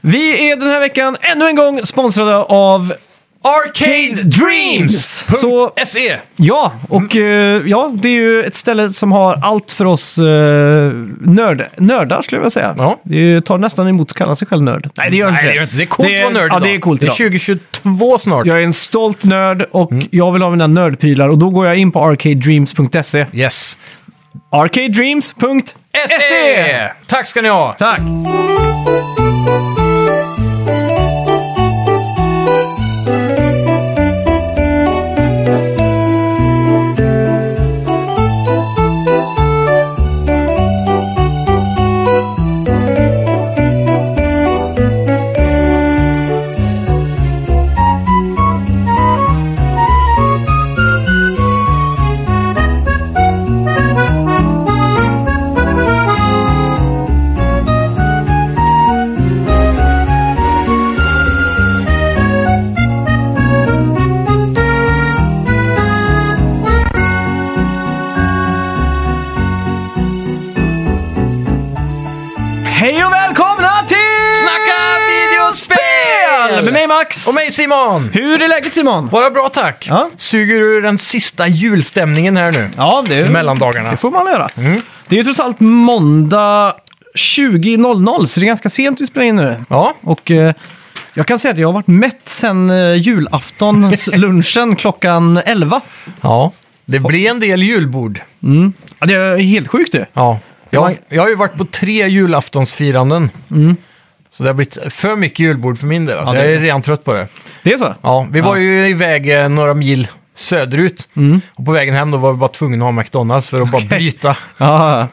Vi är den här veckan ännu en gång sponsrade av Arcade Dreams! E. Så- .se. Ja, Mm. och eh, ja, det är ju ett ställe som har allt för oss eh, nörd, nördar skulle jag vilja säga. Ja. Det är ju- tar nästan emot att kalla sig själv nörd. Nej, det gör inte Nej, det gör inte. Det är coolt att vara nörd Ja, idag. det är coolt Det är Mm. idag. 2022 snart. Jag är en stolt nörd och jag vill ha mina nördprylar och då går jag in på arcadedreams.se. Yes. Arcadedreams.se! SE! E! Tack ska ni ha! E! Tack! Hej och välkomna till Snacka videospel! Med mig Max! Och mig Simon! Hur är läget Simon? Bara bra tack! Ja. Suger du den sista julstämningen här nu? Ja, det är... Mellandagarna. Mm. Det får man göra. Det är ju trots allt måndag 20.00, så det är ganska sent vi spelar in nu. Ja. Och eh, jag kan säga att jag har varit mätt sen eh, julaftonslunchen klockan 11. ja. Det blir en del julbord. Ja, det är helt sjukt det. Ja. Jag, jag har ju varit på tre julaftonsfiranden. Så det har blivit för mycket julbord för min del. Alltså. Mm. Ja, det- Jag är redan trött på det. Det är så? Ja, vi var ju iväg eh, några mil söderut. Mm. Och på vägen hem då var vi bara tvungna att ha McDonalds för att bara bryta. Ja.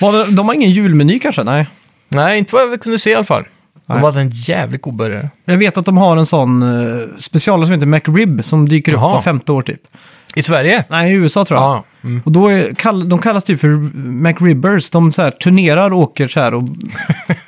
Var det- De har ingen julmeny kanske? Nej. Nej, inte vad jag kunde se i alla fall. Nej. De hade en jävligt god burgare. Jag vet att de har en sån eh, special som heter McRib som dyker upp Jaha. var femte år typ. I Sverige? Nej, i USA tror jag. Ja. Mm. Och då är, kall, de kallas typ för McRibbers. De så här, turnerar och åker så här och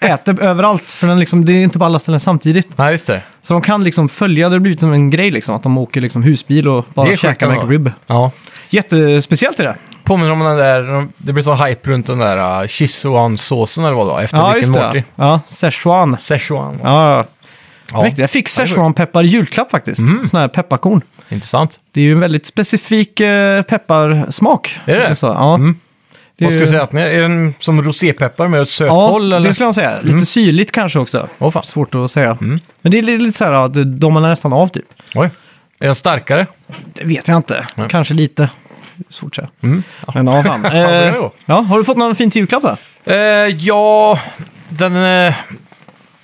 äter överallt. För den liksom, det är inte på alla ställen samtidigt. Nej, just det. Så de kan liksom följa, det har blivit som en grej liksom. Att de åker liksom husbil och Det bara är käkar sjukt ändå. McRib. Ja. Jättespeciellt är det. Påminner om den där, det blev sån hype runt den där uh, Szechuan-såsen eller vad det var, efter ja, Rick and Morty. Ja, Szechuan. Szechuan. Ja. Ja, ja. Mäktigt. Jag fick Szechuan-peppar i julklapp faktiskt. Mm. Såna här pepparkorn. Intressant. Det är ju en väldigt specifik eh, pepparsmak. Är det? Så, ja. Mm. Det är Vad skulle ju- du säga att den är? Är den som rosépeppar med ett sött Ja, håll? Eller? Mm. det skulle jag säga. Lite syrligt kanske också. Åh, fan. Svårt att säga. Mm. Men det är lite så här att de domar nästan av typ. Oj. Är den starkare? Det vet jag inte. Kanske lite. Svårt att säga. Mm. Men ja, fan. så är det eh, då. ja, har du fått någon fin till julklapp då? Eh, ja, den, eh,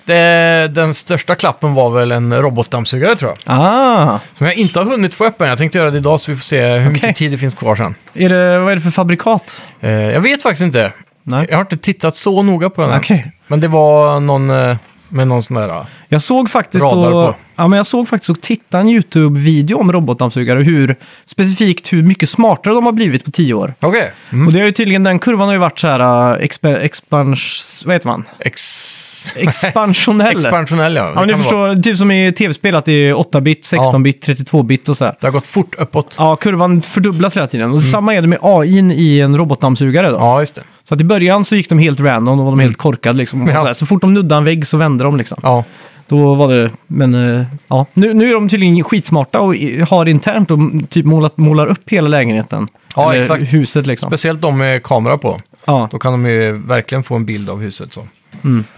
det, den största klappen var väl en robotdammsugare tror jag. Ah, Som jag inte har hunnit få öppen. Jag tänkte göra det idag så vi får se hur mycket tid det finns kvar sen. är det, vad är det för fabrikat? Eh, jag vet faktiskt inte. Nej. Jag har inte tittat så noga på den. än. Okej. Men det var någon eh, med någon sån där... ja. Jag såg faktiskt Radar och, på. ja, men jag såg faktiskt och tittade en YouTube-video om robotdammsugare och hur specifikt hur mycket smartare de har blivit på tio år. Okej. Mm. Och det har ju tydligen, den kurvan har ju varit så här eh, expe, expans, vad heter man? Ex... Expansionell. Expansionell, ja. Det Ja, men kan ni det vara. förstår, typ som i tv-spel att det är 8-bit, 16-bit, 32-bit och sådär. Det har gått fort uppåt. Ja, Ja, kurvan fördubblas hela tiden. Och Mm. samma är det med AIn i en robotdammsugare då. just det. Så att i början så gick de helt random, då var de helt korkade liksom. Och Mm. Ja. Så, här, så fort de nuddade en vägg så vände de liksom. Ja. Då var det, men eh, ja. Nu, nu är de tydligen skitsmarta och i- har internt och m- typ målat, målar upp hela lägenheten. Ja, Eller exakt. huset liksom. Speciellt de med kamera på. Ja, Då kan de ju verkligen få en bild av huset. Så.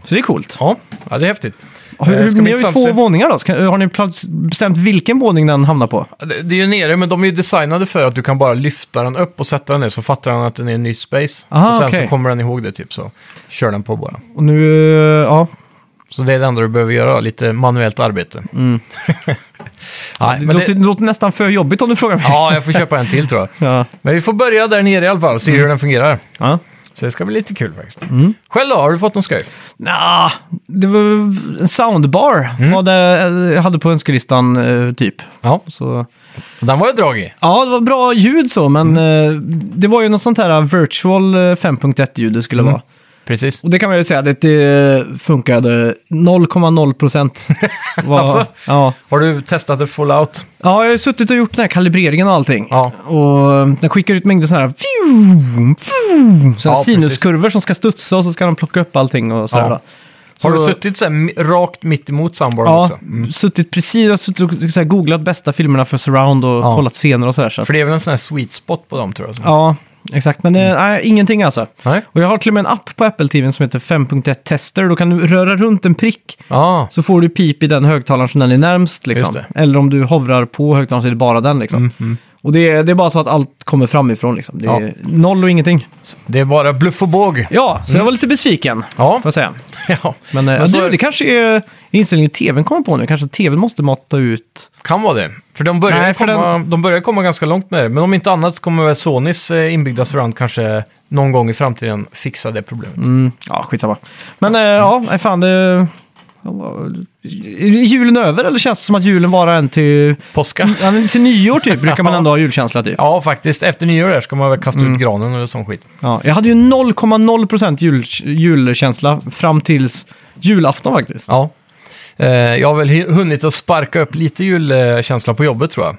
så det är coolt. Ja. ja, det är häftigt. Hur, Eh, ska hur, ni bli har ju intressant två att se. våningar då. Ska, har ni plats- bestämt vilken våning den hamnar på? Det det är ju nere, men de är ju designade för att du kan bara lyfta den upp och sätta den ner så fattar den att den är en ny space. Aha, och sen okej. så kommer den ihåg det typ så kör den på bara. Och nu, eh, ja, Så det är det enda du behöver göra, lite manuellt arbete. Nej, Mm. Det men låter, det, det låter nästan för jobbigt om du frågar mig. ja, jag får köpa en till tror jag. Ja. Men vi får börja där nere i alla fall och se Mm. hur den fungerar. Ja. Så det ska bli lite kul faktiskt. Mm. Själv då, har du fått någon skoj? Nja, det var en soundbar var det jag hade på önskelistan eh, typ. Ja, Så, den var det drag i. ja, det var bra ljud så, men eh, det var ju något sånt här virtual eh, 5.1-ljud det skulle vara. Precis. Och det kan man ju säga, det, det funkade 0,0 procent. Alltså? Ja. Har du testat det Fallout? ja, jag har ju suttit och gjort den här kalibreringen och allting. Ja. Och den skickar ut mängder sådana här, fju, fju, såna här Ja, sinuskurvor som ska studsa och så ska de plocka upp allting och sådär. Ja. då. Har du Så- suttit så här, mi- rakt mitt emot soundbaren Ja, också? Mm. suttit precis och suttit och så här, googlat bästa filmerna för surround och Ja. kollat scener och sådär. Så att, För det är väl en sån här sweet spot på dem tror jag. ja, exakt. Men eh, nej, ingenting alltså. Nej? Och jag har till och med en app på Apple TVn som heter 5.1 Tester. Då kan du röra runt en prick Ja, så får du pip i den högtalaren som den är närmst. Liksom. Just Eller om du hovrar på högtalaren så är det bara den. Liksom. Mm, mm. Och det är, det är bara så att allt kommer framifrån. Liksom. Det är Ja. noll och ingenting. det är bara bluff och båg. Ja, så jag var lite besviken. Ja, Får jag säga. ja. Men, eh, ja, så du, är- det kanske är inställningen i tvn kommer på nu. Kanske tvn måste mata ut. kan vara det. För de börjar, Nej, för komma, de börjar komma ganska långt med det. Men om inte annat så kommer väl Sonys eh, inbyggda surround kanske någon gång i framtiden fixa det problemet. Mm, ja, skitsamma. Men eh, ja, nej, fan det... Är julen över eller känns det som att julen bara är en till, Påska? ja, men till nyår typ? Brukar man ändå ha julkänsla typ. Ja, faktiskt. Efter nyår där ska man väl kasta Mm. ut granen eller sån skit. Ja, jag hade ju 0,0% jul, julkänsla fram tills julafton faktiskt. Ja. Eh, Jag har väl hi- hunnit att sparka upp lite julkänsla på jobbet tror jag.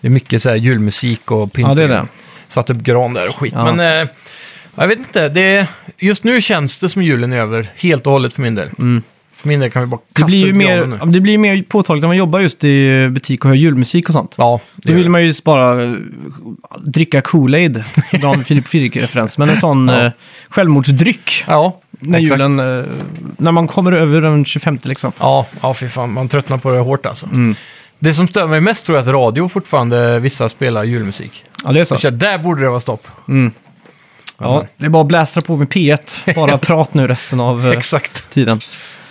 Det är mycket så här julmusik och pynt. Mm. Ja, det är det. Satt upp gran där och skit. Ja. Men eh, jag vet inte, det, just nu känns det som julen är över helt och hållet för min del. För min del kan vi bara Mm. Det kasta blir ju upp granen mer, nu. ja, det blir ju mer påtagligt när man jobbar just i butik och hör julmusik och sånt. Ja, det Då gör vill det. man ju just bara eh, dricka Kool-Aid, För att dra en Filip Fredrik-referens, men en sån Ja. eh, självmordsdryck Ja, när, exakt. julen, eh, när man kommer över den 25 liksom. Ja, ja, fy fan. Man tröttnar på det hårt alltså. Mm. Det som stör mig mest tror jag är att radio fortfarande, vissa spelar julmusik. Ja, det är så. Så där borde det vara stopp. Mm. Ja, det är bara att blästra på med P1, bara prat nu resten av eh, Exakt. tiden.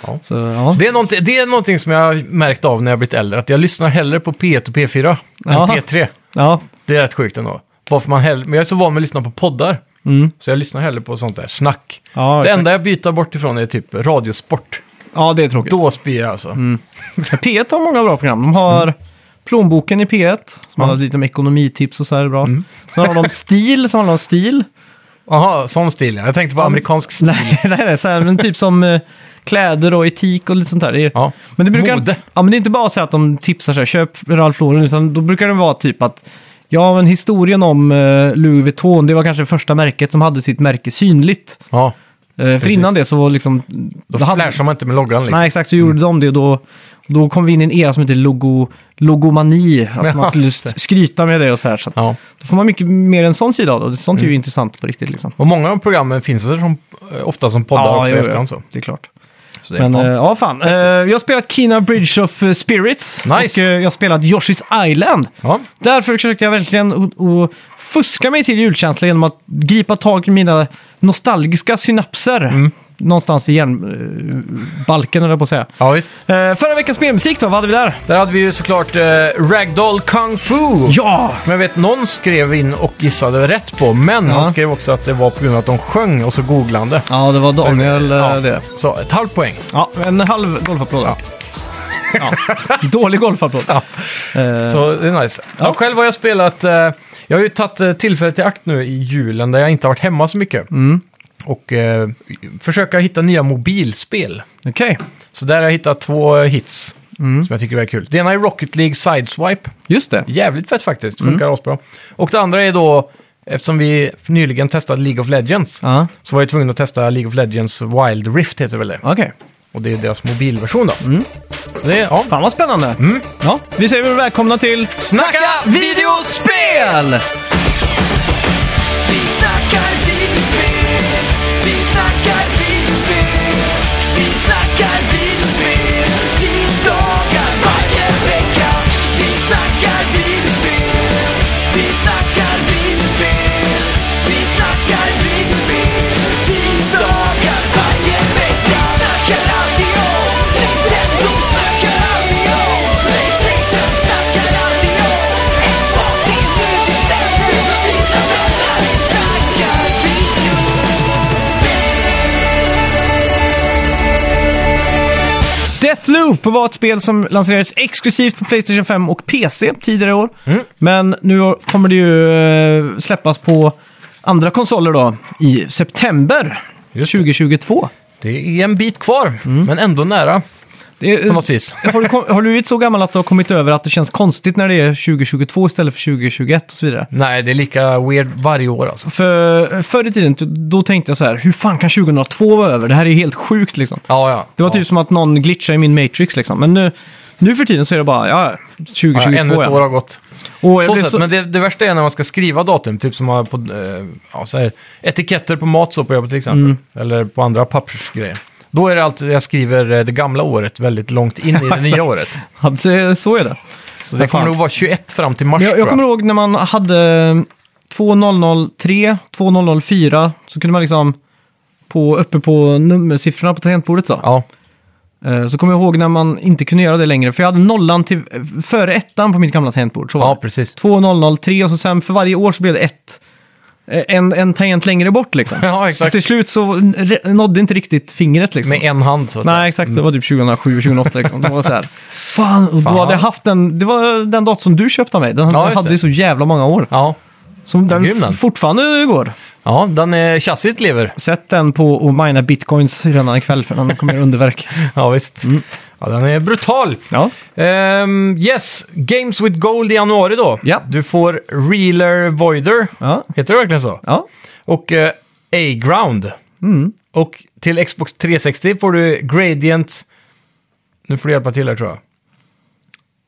Ja. Så, ja. Det är, någonting, det är någonting som jag har märkt av när jag blivit äldre, att jag lyssnar hellre på P1 och P4 Jaha. än P3. ja, Det är rätt sjukt ändå. Bara för man hellre, men jag är så van med att lyssna på poddar, Mm. så jag lyssnar hellre på sånt där snack. ja, det exakt. enda jag byter bort ifrån är typ radiosport. ja, det är tråkigt. Då spyr jag alltså. Mm. P1 har många bra program. De har Mm. Plånboken i P1, som handlar lite om ekonomitips och så här, är bra. Mm. Sen har de Stil, som handlar om stil. Jaha, sån stil ja. Jag tänkte på amerikansk stil. Nej, nej, nej så här, men typ som eh, kläder och etik och lite sånt där. Det är, Ja. Men det brukar... Mode. Ja, men det är inte bara så att de tipsar så här, köp Ralph Lauren, utan då brukar det vara typ att Ja, men historien om eh, Louis Vuitton, det var kanske det första märket som hade sitt märke synligt. ja. Eh, för Precis. innan det så var liksom... Då då hade- flashar man inte med loggan liksom. Nej, exakt. Så gjorde de det och då, då kom vi in i en era som heter logo, logomani. Att Ja, man skulle just det. skryta med det och så här. Så att Ja. Mm. Då får man mycket mer en sån sida av det. och Sånt är ju intressant på riktigt liksom. Och många av programmen finns väl som, eh, ofta som poddar också jo, jo. efterhand så. Det är klart. så det, Men ja, ja. ja fan. Eh, jag har spelat Kina Bridge of eh, Spirits. Nice. Och eh, jag har spelat Yoshi's Island. Ja. Därför försökte jag verkligen o- o- fuska mig till julkänsla genom att gripa tag i mina nostalgiska synapser. Någonstans i hjärnbalken, höll jag på att säga. ja, visst. Eh, förra veckans spelmusik då, vad hade vi där? Där hade vi ju såklart eh, Ragdoll Kung Fu. Ja! Men jag vet, någon skrev in och gissade rätt på, men han skrev också att det var på grund av att de sjöng och så googlade han det. Ja, det var Daniel Så, eh, det. Så ett halvt poäng. Ja, en halv golfapplåd. Ja. Dålig golfapplåd. Ja. Eh, Så det är nice. Ja. själv har jag spelat, eh, jag har ju tagit eh, tillfället i akt nu i julen där jag inte har varit hemma så mycket. Och eh, försöka hitta nya mobilspel. Okej, Så där har jag hittat två eh, hits som jag tycker är kul. Det ena är Rocket League Sideswipe. just det. Jävligt fett faktiskt, funkar asbra. Och det andra är då, eftersom vi nyligen testade League of Legends. Ja, Så var jag tvungen att testa League of Legends Wild Rift heter väl det. okej. Och det är deras mobilversion då. Så det är, ja. Fan vad spännande. Ja, vi säger väl välkomna till Snacka videospel! Vi snackar videospel, vi snackar videospel, vi snackar videospel, tisdagar varje vecka. Vi snackar videospel, vi snackar videospel, vi snackar videospel, tisdagar varje vecka. Vi snackar alltid om Nintendo, snackar alltid om Playstation, snackar alltid om Xbox, det är nu vi sänder för dina vänner. Vi snackar video. Deathloop var ett spel som lanserades exklusivt på Playstation 5 och PC tidigare i år. Mm. Men nu kommer det ju eh, släppas på andra konsoler då i september Just det. 2022. Mm. Det är en bit kvar, men ändå nära. Det är- eh, på något vis. har, du, kom- har du blivit så gammal att du har kommit över att det känns konstigt när det är 2022 istället för 2021 och så vidare? Nej, det är lika weird varje år alltså. För, förr i tiden, då tänkte jag så här, hur fan kan 2002 vara över? Det här är helt sjukt liksom. Ja, ja. Det var ja. typ som att någon glitchade i min Matrix liksom. Men nu, nu för tiden så är det bara, ja, Ja, 2022 ännu ett år har gått. Och jag Så blev sätt, så- Men det, det värsta är när man ska skriva datum, typ som har på, eh, ja, så här, etiketter på mat så på jobbet till exempel. Mm. Eller på andra pappersgrejer. Då är det alltid jag skriver eh, det gamla året väldigt långt in i det nya året. Ja, det- så är det. Så det kommer nog vara 21 fram till mars jag, jag tror kommer ihåg när man hade 2003, 2004, så kunde man liksom på, uppe på nummersiffrorna på tangentbordet så. Ja, Eh, Så kommer jag ihåg när man inte kunde göra det längre, för jag hade nollan till, före ettan på mitt gamla tangentbord. Så var ja det. precis. 2003 och så sen för varje år så blev det ett, eh, en, en tangent längre bort liksom. Ja, Så exakt. till slut så re- nådde inte riktigt fingret liksom. Med en hand så att säga. Nej, exakt. Det var typ 2007, 2008 liksom. Det var så här, fan, och då Fan. hade jag haft den, det var den datorn som du köpte av mig. Den Ja, just hade det. ju så jävla många år. Ja. Som den grym den. f- fortfarande går. ja, den är chassit lever. Sätt den på och mina bitcoins redan ikväll för den kommer göra underverk. Ja, visst. Mm. Ja, den är brutal. Ja. Ehm, yes, Games with Gold i januari då. Ja. Du får Reeler Voider. Ja. Heter det verkligen så? Ja. Och eh, A-Ground. Och till Xbox 360 får du Gradient... Nu får du hjälpa till här tror jag.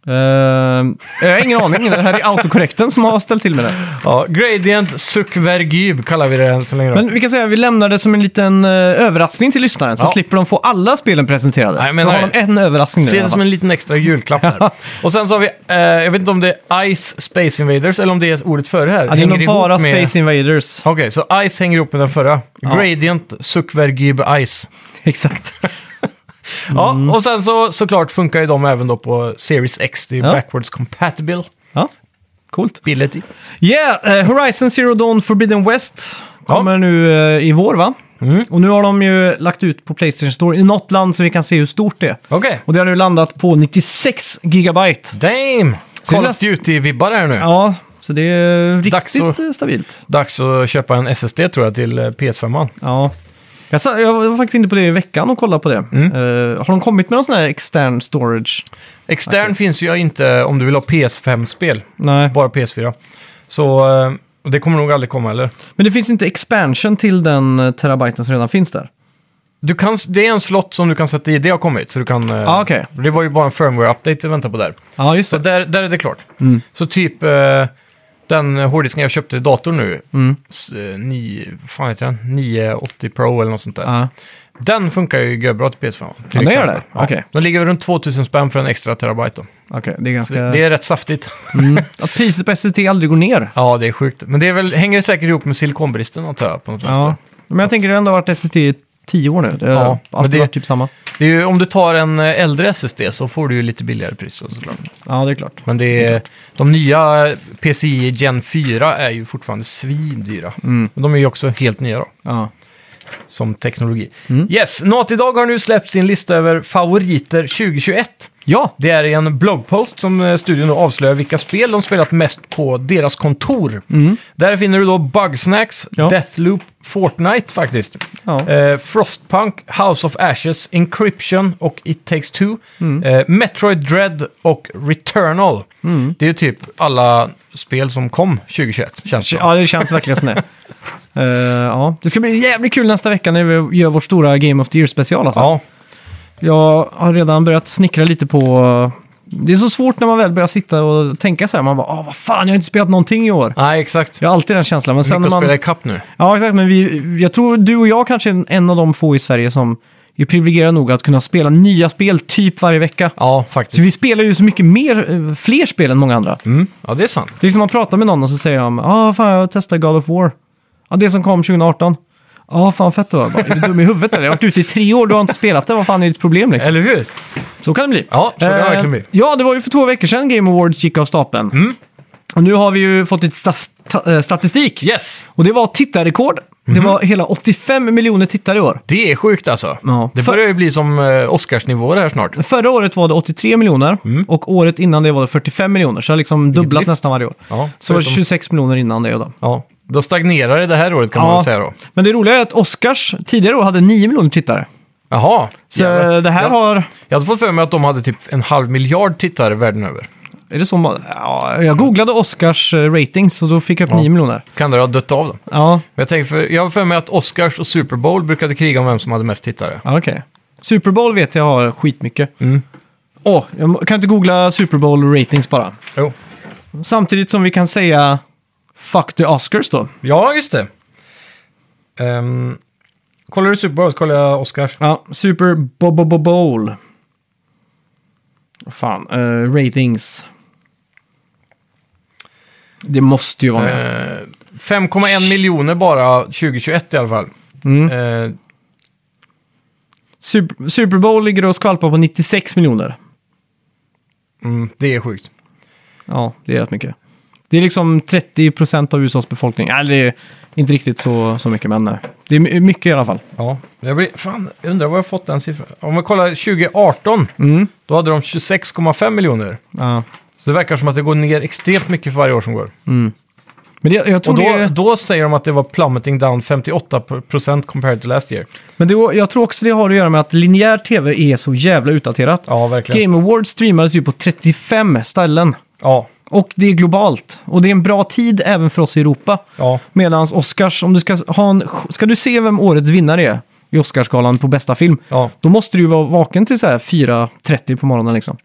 Ehm, jag har ingen aning. Det här är autokorrekten som har ställt till med det. Ja, Gradient Sukvergyb kallar vi det så länge då. Men vi kan säga att vi lämnar det som en liten eh, överraskning till lyssnaren. Så Ja. slipper de få alla spelen presenterade. Nej, jag så menar har de det. en överraskning nu. i Se det alla som fall. en liten extra julklapp här. och sen så har vi, eh, jag vet inte om det är Ice Space Invaders eller om det är ordet före här. ja, det är Hänger nog ihop bara med- Space Invaders. Okej, så Ice hänger ihop med den förra. Gradient Sukvergyb Ice. Exakt. Mm. Ja, och sen så såklart funkar ju de även då på Series X. Det är Ja. backwards compatible. Ja, coolt. Billigt. Yeah, eh, Horizon Zero Dawn Forbidden West kommer nu eh, i vår va? Mm. Och nu har de ju lagt ut på Playstation Store i något land så vi kan se hur stort det är. Okej. Och det har ju landat på 96 gigabyte. Damn! det Call of näst- Duty-vibbar här nu. Ja, så det är Dags riktigt att- eh, stabilt. Dags att köpa en SSD tror jag till eh, PS5. -an. Ja. Jag, sa, jag var faktiskt inne på det i veckan och kollade på det. Mm. Eh, har de kommit med någon sån här extern storage? Extern finns ju inte om du vill ha PS5-spel, Nej. bara PS4. Så eh, och det kommer nog aldrig komma eller? Men det finns inte expansion till den eh, terabyten som redan finns där? Du kan, s- det är en slott som du kan sätta i, det har kommit. Så du kan, eh, Ah, okej. Det var ju bara en firmware-update vi väntade på där. Ja, just Så där, där är det klart. Mm. Så typ eh, den hårddisken jag köpte i datorn nu, Mm. s- eh, ni, fan heter den? 980 Pro eller något sånt där. Ja. Den funkar ju görbra till PS5. Till Ah. Ja, det gör exempel. det? Okej. De ligger runt 2000 spänn för en extra terabyte då. Okej, det är Så ganska... det, det är rätt saftigt. Mm. Att priset på SSD aldrig går ner. Ja, det är sjukt. Men det är väl, hänger säkert ihop med silikonbristen antar jag på något Ja. vänster. Men jag tänker det har ändå varit SSD i tio år nu. Det har Ja, men alltid det- varit typ samma. Det är ju, om du tar en eh, äldre SSD så får du ju lite billigare pris då, såklart. Ja, det är klart. Men det är, de nya eh, PCI Gen 4 är ju fortfarande svindyra. Men de är ju också helt nya då, Ja. som teknologi. Yes, Naughty Dog har nu släppt sin lista över favoriter 2021. ja, Det är i en bloggpost som eh, studion då avslöjar vilka spel de spelat mest på deras kontor. Där finner du då Bugsnacks, Ja. Deathloop, Fortnite faktiskt. Ja. Eh, Frostpunk, House of Ashes, Encryption och It Takes Two. Mm. Eh, Metroid Dread och Returnal. Mm. Det är ju typ alla spel som kom 2021, känns det som. ja, det känns verkligen som det. Eh, ja. Det ska bli jävligt kul nästa vecka när vi gör vår stora Game of the Year-special. Alltså. Ja, Jag har redan börjat snickra lite på... Det är så svårt när man väl börjar sitta och tänka så här. Man bara, "Ah, vad fan, jag har inte spelat någonting i år. nej exakt. Jag har alltid den känslan. Men sen Mycket när att man... spela ikapp nu. Ja, exakt. Men vi, jag tror du och jag kanske är en av de få i Sverige som är privilegierade nog att kunna spela nya spel typ varje vecka. Ja, Så faktiskt. vi spelar ju så mycket mer, eh, fler spel än många andra. Mm. Ja, det är sant. Det är liksom man pratar med någon och så säger de ah, fan jag testar God of War. Ja, det som kom 2018. Ja, fan fett det var. Jag Bara, är du dum i huvudet eller? Jag har varit ute i tre år, du har inte spelat det. Vad fan är ditt problem liksom? Eller hur? Så kan det bli. Eh, Ja, så kan det verkligen bli. Mm. Ja, det var ju för två veckor sedan Game Awards gick av stapeln. Och nu har vi ju fått lite stas- ta- eh, statistik. Yes! Och det var tittarrekord. Det Mhm. var hela 85 miljoner tittare i år. Det är sjukt alltså. Ja. Det För- börjar ju bli som eh, Oscarsnivåer här snart. Förra året var det 83 miljoner och året innan det var det 45 miljoner. Så det har liksom dubblat Mm. lyft. nästan varje år. Ja, så var det förutom- 26 miljoner innan det. Då. Ja, då stagnerar det det här året kan man väl säga då. Men det roliga är att Oscars tidigare år hade 9 miljoner tittare. Jaha. Så jävlar. det här jag, har... jag hade fått för mig att de hade typ en halv miljard tittare världen över. Är det så man, ja, jag googlade Oscars eh, ratings och då fick jag upp Ja. 9 miljoner. Kan det ha dött av dem? Ja, Men Jag, tänker för, jag har för mig att Oscars och Super Bowl brukade kriga om vem som hade mest tittare. ja okej. Super Bowl vet jag har skitmycket. Mm. Åh, jag må- kan inte googla Super Bowl ratings bara. Jo. Samtidigt som vi kan säga Fuck the Oscars då. Ja, just det. Ehm, kollar du Super Bowl så kollar jag Oscars. Ja, Super Bo- Bo- Bo- Bowl. Fan, eh, ratings. Det måste ju vara med. Ehm, 5,1 miljoner bara 2021 i alla fall. Mm. Ehm, Super, Super Bowl ligger och skvalpar på 96 miljoner. mm, det är sjukt. Ja, det är rätt mycket. Det är liksom 30% av USAs befolkning. Nej, det är inte riktigt så, så mycket, men eh, det är my- mycket i alla fall. Ja, jag blir, fan, jag undrar var jag fått den siffran. Om vi kollar 2018, Mm. då hade de 26,5 miljoner. Ja. Så det verkar som att det går ner extremt mycket för varje år som går. Men det, jag tror Och då, det... då säger de att det var plummeting down 58% compared to last year. Men det, jag tror också det har att göra med att linjär tv är så jävla utdaterat. Ja, verkligen. Game Awards streamades ju på 35 ställen. Ja, Och det är globalt. Och det är en bra tid även för oss i Europa. ja. Medans Oscars, om du ska ha en... Ska du se vem årets vinnare är i Oscarsgalan på bästa film, Ja. då måste du ju vara vaken till så här 4.30 på morgonen liksom.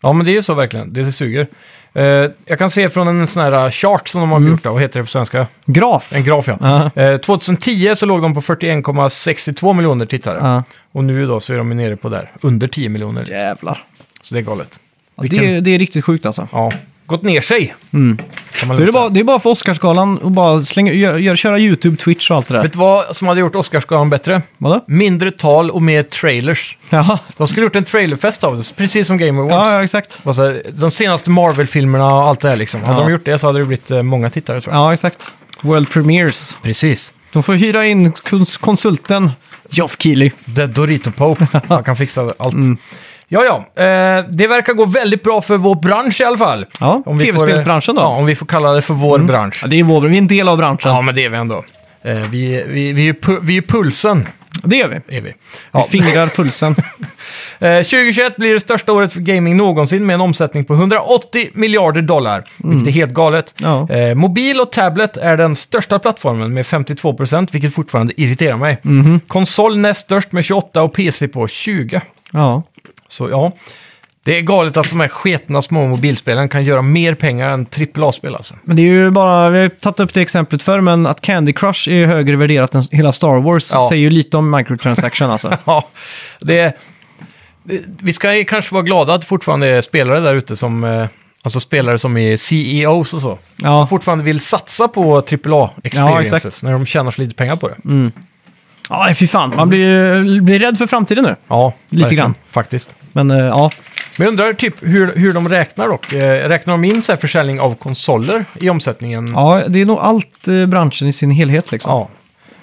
ja, men det är ju så verkligen. Det suger. Eh, jag kan se från en sån här uh, chart som de har gjort, då. vad heter det på svenska? Graf. En graf ja. Mm. Ja. Eh, 2010 så låg de på 41,62 miljoner tittare. Ja. Och nu då så är de ju nere på där, under 10 miljoner. Jävlar. Så det är galet. Ja, Vilken- det, är, det är riktigt sjukt alltså. Ja, gått ner sig. Mm. Kan man Det är, lugnt bara, säga. det är bara för Oscarsgalan och bara slänga, gör, gör, köra YouTube, Twitch och allt det där. Vet du vad som hade gjort Oscarsgalan bättre? Vadå? Mindre tal och mer trailers. Jaha. De skulle gjort en trailerfest av det, precis som Game Awards. Ja, ja, exakt. Vad så här, De senaste Marvel-filmerna och allt det här liksom. Hade Ja. de gjort det så hade det blivit eh, många tittare tror jag. Ja, exakt. World Premiers. Precis. De får hyra in kons- konsulten Geoff Keighley. The Dorito Pope. Man kan fixa allt. Mm. Ja, ja. Eh, det verkar gå väldigt bra för vår bransch i alla fall. Ja, Om vi får, eh, tv-spelsbranschen då. Mm. Ja, Ja. om vi får kalla det för vår bransch. det är vår, vi är en del av branschen. Ja, men det är vi ändå. Eh, vi, vi, vi, är pu- vi är pulsen, Det är vi. är vi. Vi Ja. fingrar pulsen. Eh, 2021 blir det största året för gaming någonsin med en omsättning på 180 miljarder dollar, vilket är helt galet. Mm. Ja. Eh, mobil och tablet är den största plattformen med 52 procent, vilket fortfarande irriterar mig. Mhm. Konsol näst störst med 28 och PC på 20. Ja. Så ja, det är galet att de här sketna små mobilspelen kan göra mer pengar än AAA-spel alltså. Men det är ju bara, vi har ju tagit upp det exemplet förr, men att Candy Crush är högre värderat än hela Star Wars Ja. säger ju lite om microtransaction alltså. Ja, det, det, vi ska ju kanske vara glada att det fortfarande är spelare där ute som, eh, alltså spelare som är CEOs och så. Ja. Som fortfarande vill satsa på AAA-experiences när de tjänar så lite pengar på det. Mm. Ja, fy fan. Man blir, ju- blir rädd för framtiden nu. Ja, Lite verkligen, grann. Faktiskt. Men eh, ja, Men jag undrar typ hur, hur de räknar dock. Eh, räknar de in så här försäljning av konsoler i omsättningen? ja, det är nog allt eh, branschen i sin helhet liksom. Ja.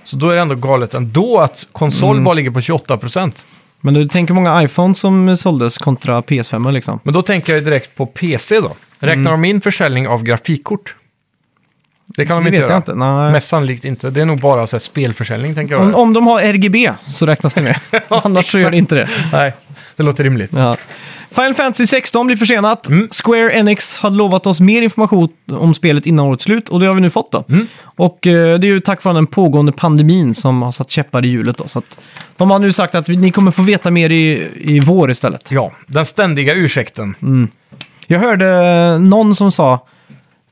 Så då är det ändå galet ändå att konsol Mm. bara ligger på 28 procent. Men du tänker många iPhones som eh, såldes kontra PS5 liksom. Men då tänker jag ju direkt på PC då. Räknar de in försäljning av grafikkort? Det kan de Det inte vet göra. jag inte. Nej. Mm. Mest sannolikt inte. Det är nog bara så här spelförsäljning, tänker jag. Om, om de har RGB så räknas det med. Annars så gör det inte det. Nej, det låter rimligt. Ja. Final Fantasy 16 blir försenat. Square Enix hade lovat oss mer information om spelet innan årets slut och det har vi nu fått då. Och eh, det är ju tack vare den pågående pandemin som har satt käppar i hjulet då. Så att de har nu sagt att vi- ni kommer få veta mer i, i vår istället. Ja, den ständiga ursäkten. Jag hörde eh, någon som sa,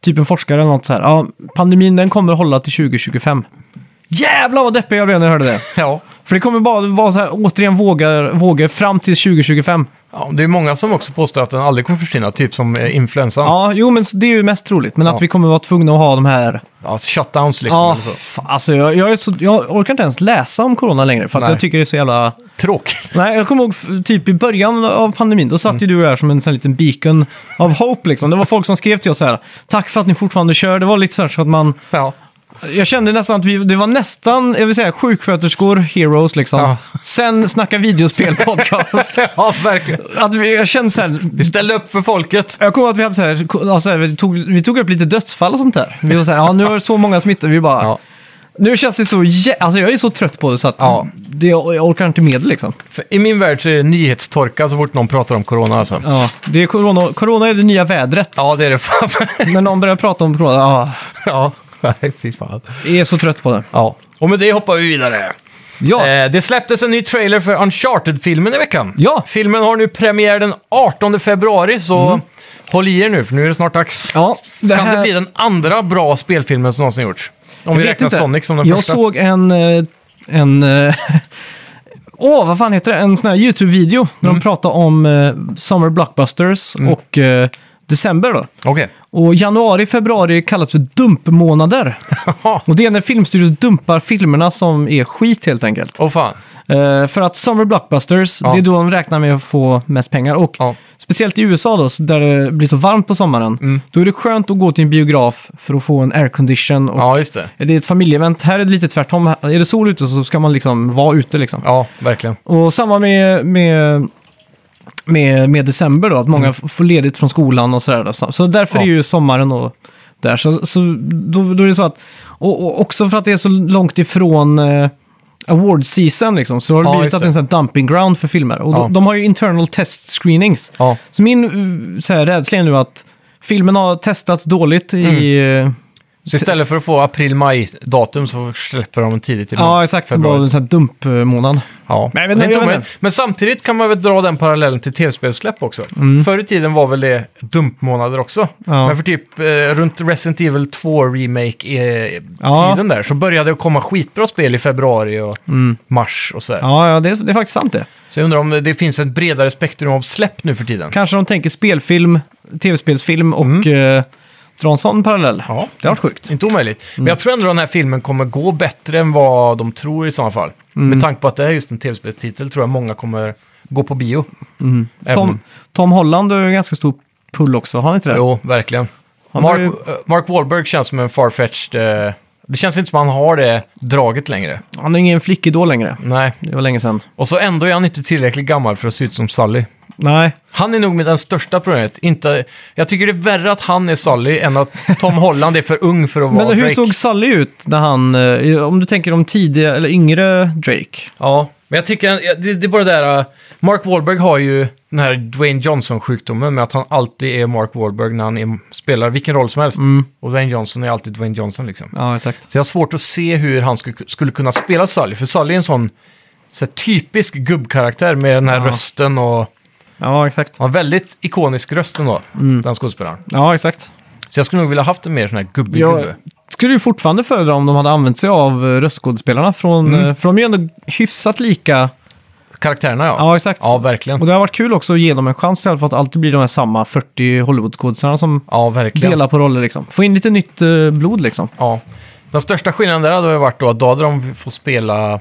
typ en forskare eller något så här, ja, pandemin den kommer hålla till 2025. Jävlar vad deppig jag blev när jag hörde det. Ja. För det kommer bara vara så här, återigen vågor, vågor fram till 2025. ja. Det är många som också påstår att den aldrig kommer försvinna, typ som eh, influensan. Ja, jo men det är ju mest troligt. Men Ja. att vi kommer vara tvungna att ha de här... Alltså shutdowns liksom. Ja, Eller så. fa- alltså jag, jag, är så, jag orkar inte ens läsa om corona längre för att Nej. jag tycker det är så jävla... Tråkigt. Nej, jag kommer ihåg f- typ i början av pandemin, då satt Mm. ju du här som en sån här liten beacon av hope liksom. Det var folk som skrev till oss så här, tack för att ni fortfarande kör. Det var lite så här så att man... Ja. Jag kände nästan att vi, det var nästan, jag vill säga sjuksköterskor, heroes liksom. Ja. Sen snacka videospel, podcast. ja, verkligen. att vi, jag kände så här, Vi ställer upp för folket. Jag kommer ihåg att vi hade så här, ja, så här vi, tog, vi tog upp lite dödsfall och sånt där. Vi var så här, ja nu har så många smittat, vi bara, Ja. Nu känns det så jä- Alltså jag är så trött på det så att Ja. det, jag jag orkar inte med det liksom. För I min värld så är det nyhetstorka så fort någon pratar om corona alltså. Ja, Ja, det är corona, corona är det nya vädret. det är det fan. När någon börjar prata om corona, ja, ja, nej, fy fan. jag är så trött på det. Ja, och med det hoppar vi vidare. Ja, Eh, det släpptes en ny trailer för Uncharted-filmen i veckan. Ja. Filmen har nu premiär den 18 februari, så håll i er nu för nu är det snart dags. Mm. ja det Kan det bli här... den andra bra spelfilmen som någonsin gjorts? Om vi vet räknar inte. Sonic som den Jag första. såg en... eh, en eh, Åh, vad fan heter det? En sån här YouTube-video. När Mm. de pratar om eh, Summer Blockbusters och eh, December då. Okej. Och januari, februari kallas för dumpmånader. Jaha. Och det är när filmstudios dumpar filmerna som är skit helt enkelt. Åh fan. Eh, för att Summer Blockbusters, Ja. det är då de räknar med att få mest pengar. Och Ja. speciellt i USA då, så där det blir så varmt på sommaren, Mm. då är det skönt att gå till en biograf för att få en aircondition. Och Ja, just det. Det är ett familjeevent. Här är det lite tvärtom. Här- Är det sol ute så ska man liksom vara ute liksom. Ja, verkligen. Och samma med, med, med, med december då, att många f- får ledigt från skolan och sådär. Då. Så så därför Mm. Ja. är ju sommaren då där. Så, så då, då är det så att, och, och också för att det är så långt ifrån eh, award season liksom, så har det Ja, blivit just att det det. är en sån här dumping ground för filmer. Och Ja. de, de har ju internal test screenings. Ja. Så min eh, så här, rädsla är nu att filmen har testat dåligt i... Mm. eh, Så istället för att få april-maj-datum så släpper de tidigt i Ja, exakt. Som var februari. en sån här dumpmånad. Ja. Men jag vet inte, Det är inte jag vet omöjligt. inte. men samtidigt kan man väl dra den parallellen till tv-spelssläpp också. Förr i tiden var väl det dumpmånader också. Mm. Ja. Men för typ eh, runt Resident Evil 2 remake-tiden Ja. Mm. där så började det komma skitbra spel i februari och mars och sådär. Ja, ja det, det är faktiskt sant det. Så jag undrar om det finns ett bredare spektrum av släpp nu för tiden. Kanske de tänker spelfilm, tv-spelsfilm och eh, drar en sån parallell. Ja. Det har varit sjukt. Inte omöjligt. Mm. Men jag tror ändå den här filmen kommer gå bättre än vad de tror i sådana fall. Mm. Med tanke på att det är just en tv-spelstitel tror jag många kommer gå på bio. Även- Mm. Tom, Tom Holland har ju ganska stor pull också, har han inte det? Jo, verkligen. Han Mark, har ju- eh, Mark Wahlberg känns som en farfetched... Eh, det känns inte som han har det draget längre. Han är ingen flickidol längre. Nej. Det var länge sedan. Och så ändå är han inte tillräckligt gammal för att se ut som Sally. Nej, Han är nog med den största problemet. Inte, jag tycker det är värre att han är Sally än att Tom Holland är för ung för att vara men hur Drake. såg Sally ut när han, eh, om du tänker om tidiga eller yngre Drake? Ja, men jag tycker jag- det, det är bara det där... eh, Mark Wahlberg har ju den här Dwayne Johnson-sjukdomen med att han alltid är Mark Wahlberg när han är, spelar vilken roll som helst. Mm. Och Dwayne Johnson är alltid Dwayne Johnson liksom. Ja, exakt. Så jag har svårt att se hur han skulle, skulle kunna spela Sully, för Sully är en sån så här, typisk gubbkaraktär med den här Ja. rösten och... Ja, exakt. Han har väldigt ikonisk röst ändå, Mm. den skådespelaren. Ja, exakt. Så jag skulle nog vilja haft en mer sån här gubbig Jag gubbe. skulle ju fortfarande föredra om de hade använt sig av eh, röstskådespelarna från, eh, för de är ju ändå hyfsat lika. Karaktärerna ja. Ja, exakt. Ja, verkligen. Och det har varit kul också att ge dem en chans istället för att alltid bli de här samma 40 Hollywoodskådisarna som Ja, verkligen. delar på roller liksom. Få in lite nytt eh, blod liksom. Ja. Den största skillnaden där hade ju varit då att då hade de fått spela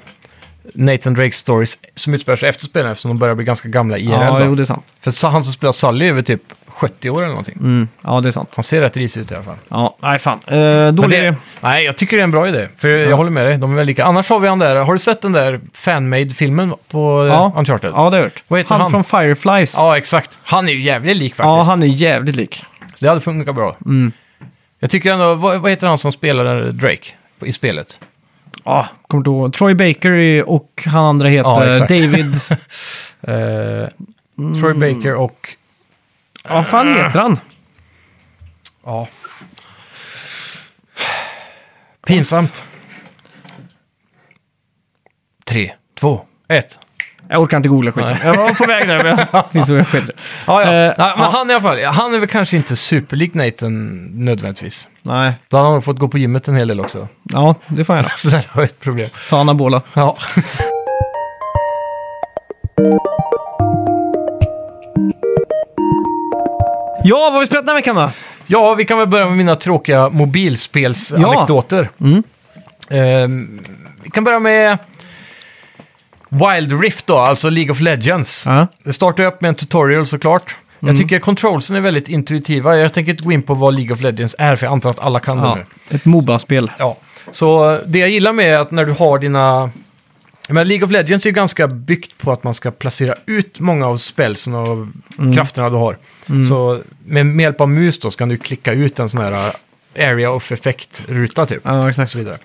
Nathan Drake Stories som utspelar sig efter spelen eftersom de börjar bli ganska gamla IRL. Ja, då. jo, det är sant. För sa- han som spelar Sully är väl typ 70 år eller någonting. Mm. Ja, det är sant. Han ser rätt risig ut i alla fall. Ja, nej fan. Eh, Men dålig... det, nej, jag tycker det är en bra idé. För jag håller med dig, de är väl lika. Annars har vi han där, har du sett den där fanmade-filmen på Ja. ja. Uncharted? Ja, det har jag hört. Vad heter han? från Fireflies. Ja, exakt. Han är ju jävligt lik faktiskt. Ja, han är jävligt lik. Så det hade funkat bra. Jag tycker ändå, vad, vad heter han som spelar Drake i spelet? Ja, kommer inte ihåg. Troy Baker är- och han andra heter Ja, exakt. David... Troy Baker och... Ja, vad fan heter han? Ja. Pinsamt. Tre, två, ett. Jag orkar inte googla skiten. Jag var på väg där, men jag insåg jag skedde. Ja, ja. Eh, Nej, men han i alla fall, han är väl kanske inte superlik Nathan nödvändigtvis. Nej, Då hade han nog fått gå på gymmet en hel del också. ja, det får jag gärna. Så där har jag ett problem. Ta anabola. Ja. Ja, vad har vi spelat den här veckan då? ja, vi kan väl börja med mina tråkiga mobilspelsanekdoter. Mm. Ehm, vi kan börja med Wild Rift då, alltså League of Legends. Ja. Mm. Det startar ju upp med en tutorial såklart. Jag tycker controlsen är väldigt intuitiva. Jag tänker inte gå in på vad League of Legends är, för jag antar att alla kan det Ja, nu. ett Moba-spel. Ja, så eh, det jag gillar med är att när du har dina... Men League of Legends är ju ganska byggt på att man ska placera ut många av spelsen och krafterna du har. Så med, med hjälp av mus då så kan du klicka ut en sån här area eh, of effect-ruta typ. Ja, Och exakt. så vidare.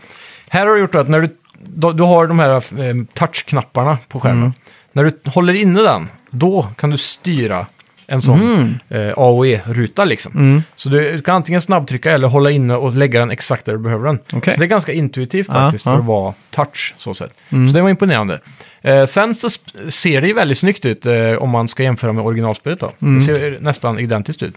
Här har du gjort att när du, då, du har de här eh, touchknapparna på skärmen. När du håller inne den, då kan du styra en sån eh, AOE-ruta liksom. Mm. Så du kan antingen snabbtrycka eller hålla inne och lägga den exakt där du behöver den. Okej. Så det är ganska intuitivt Ja, faktiskt ja. Mm. för att vara touch så sätt. Så det var imponerande. Eh, sen så sp- ser det ju väldigt snyggt ut eh, om man ska jämföra med originalspelet då. Mm. Det ser nästan identiskt ut.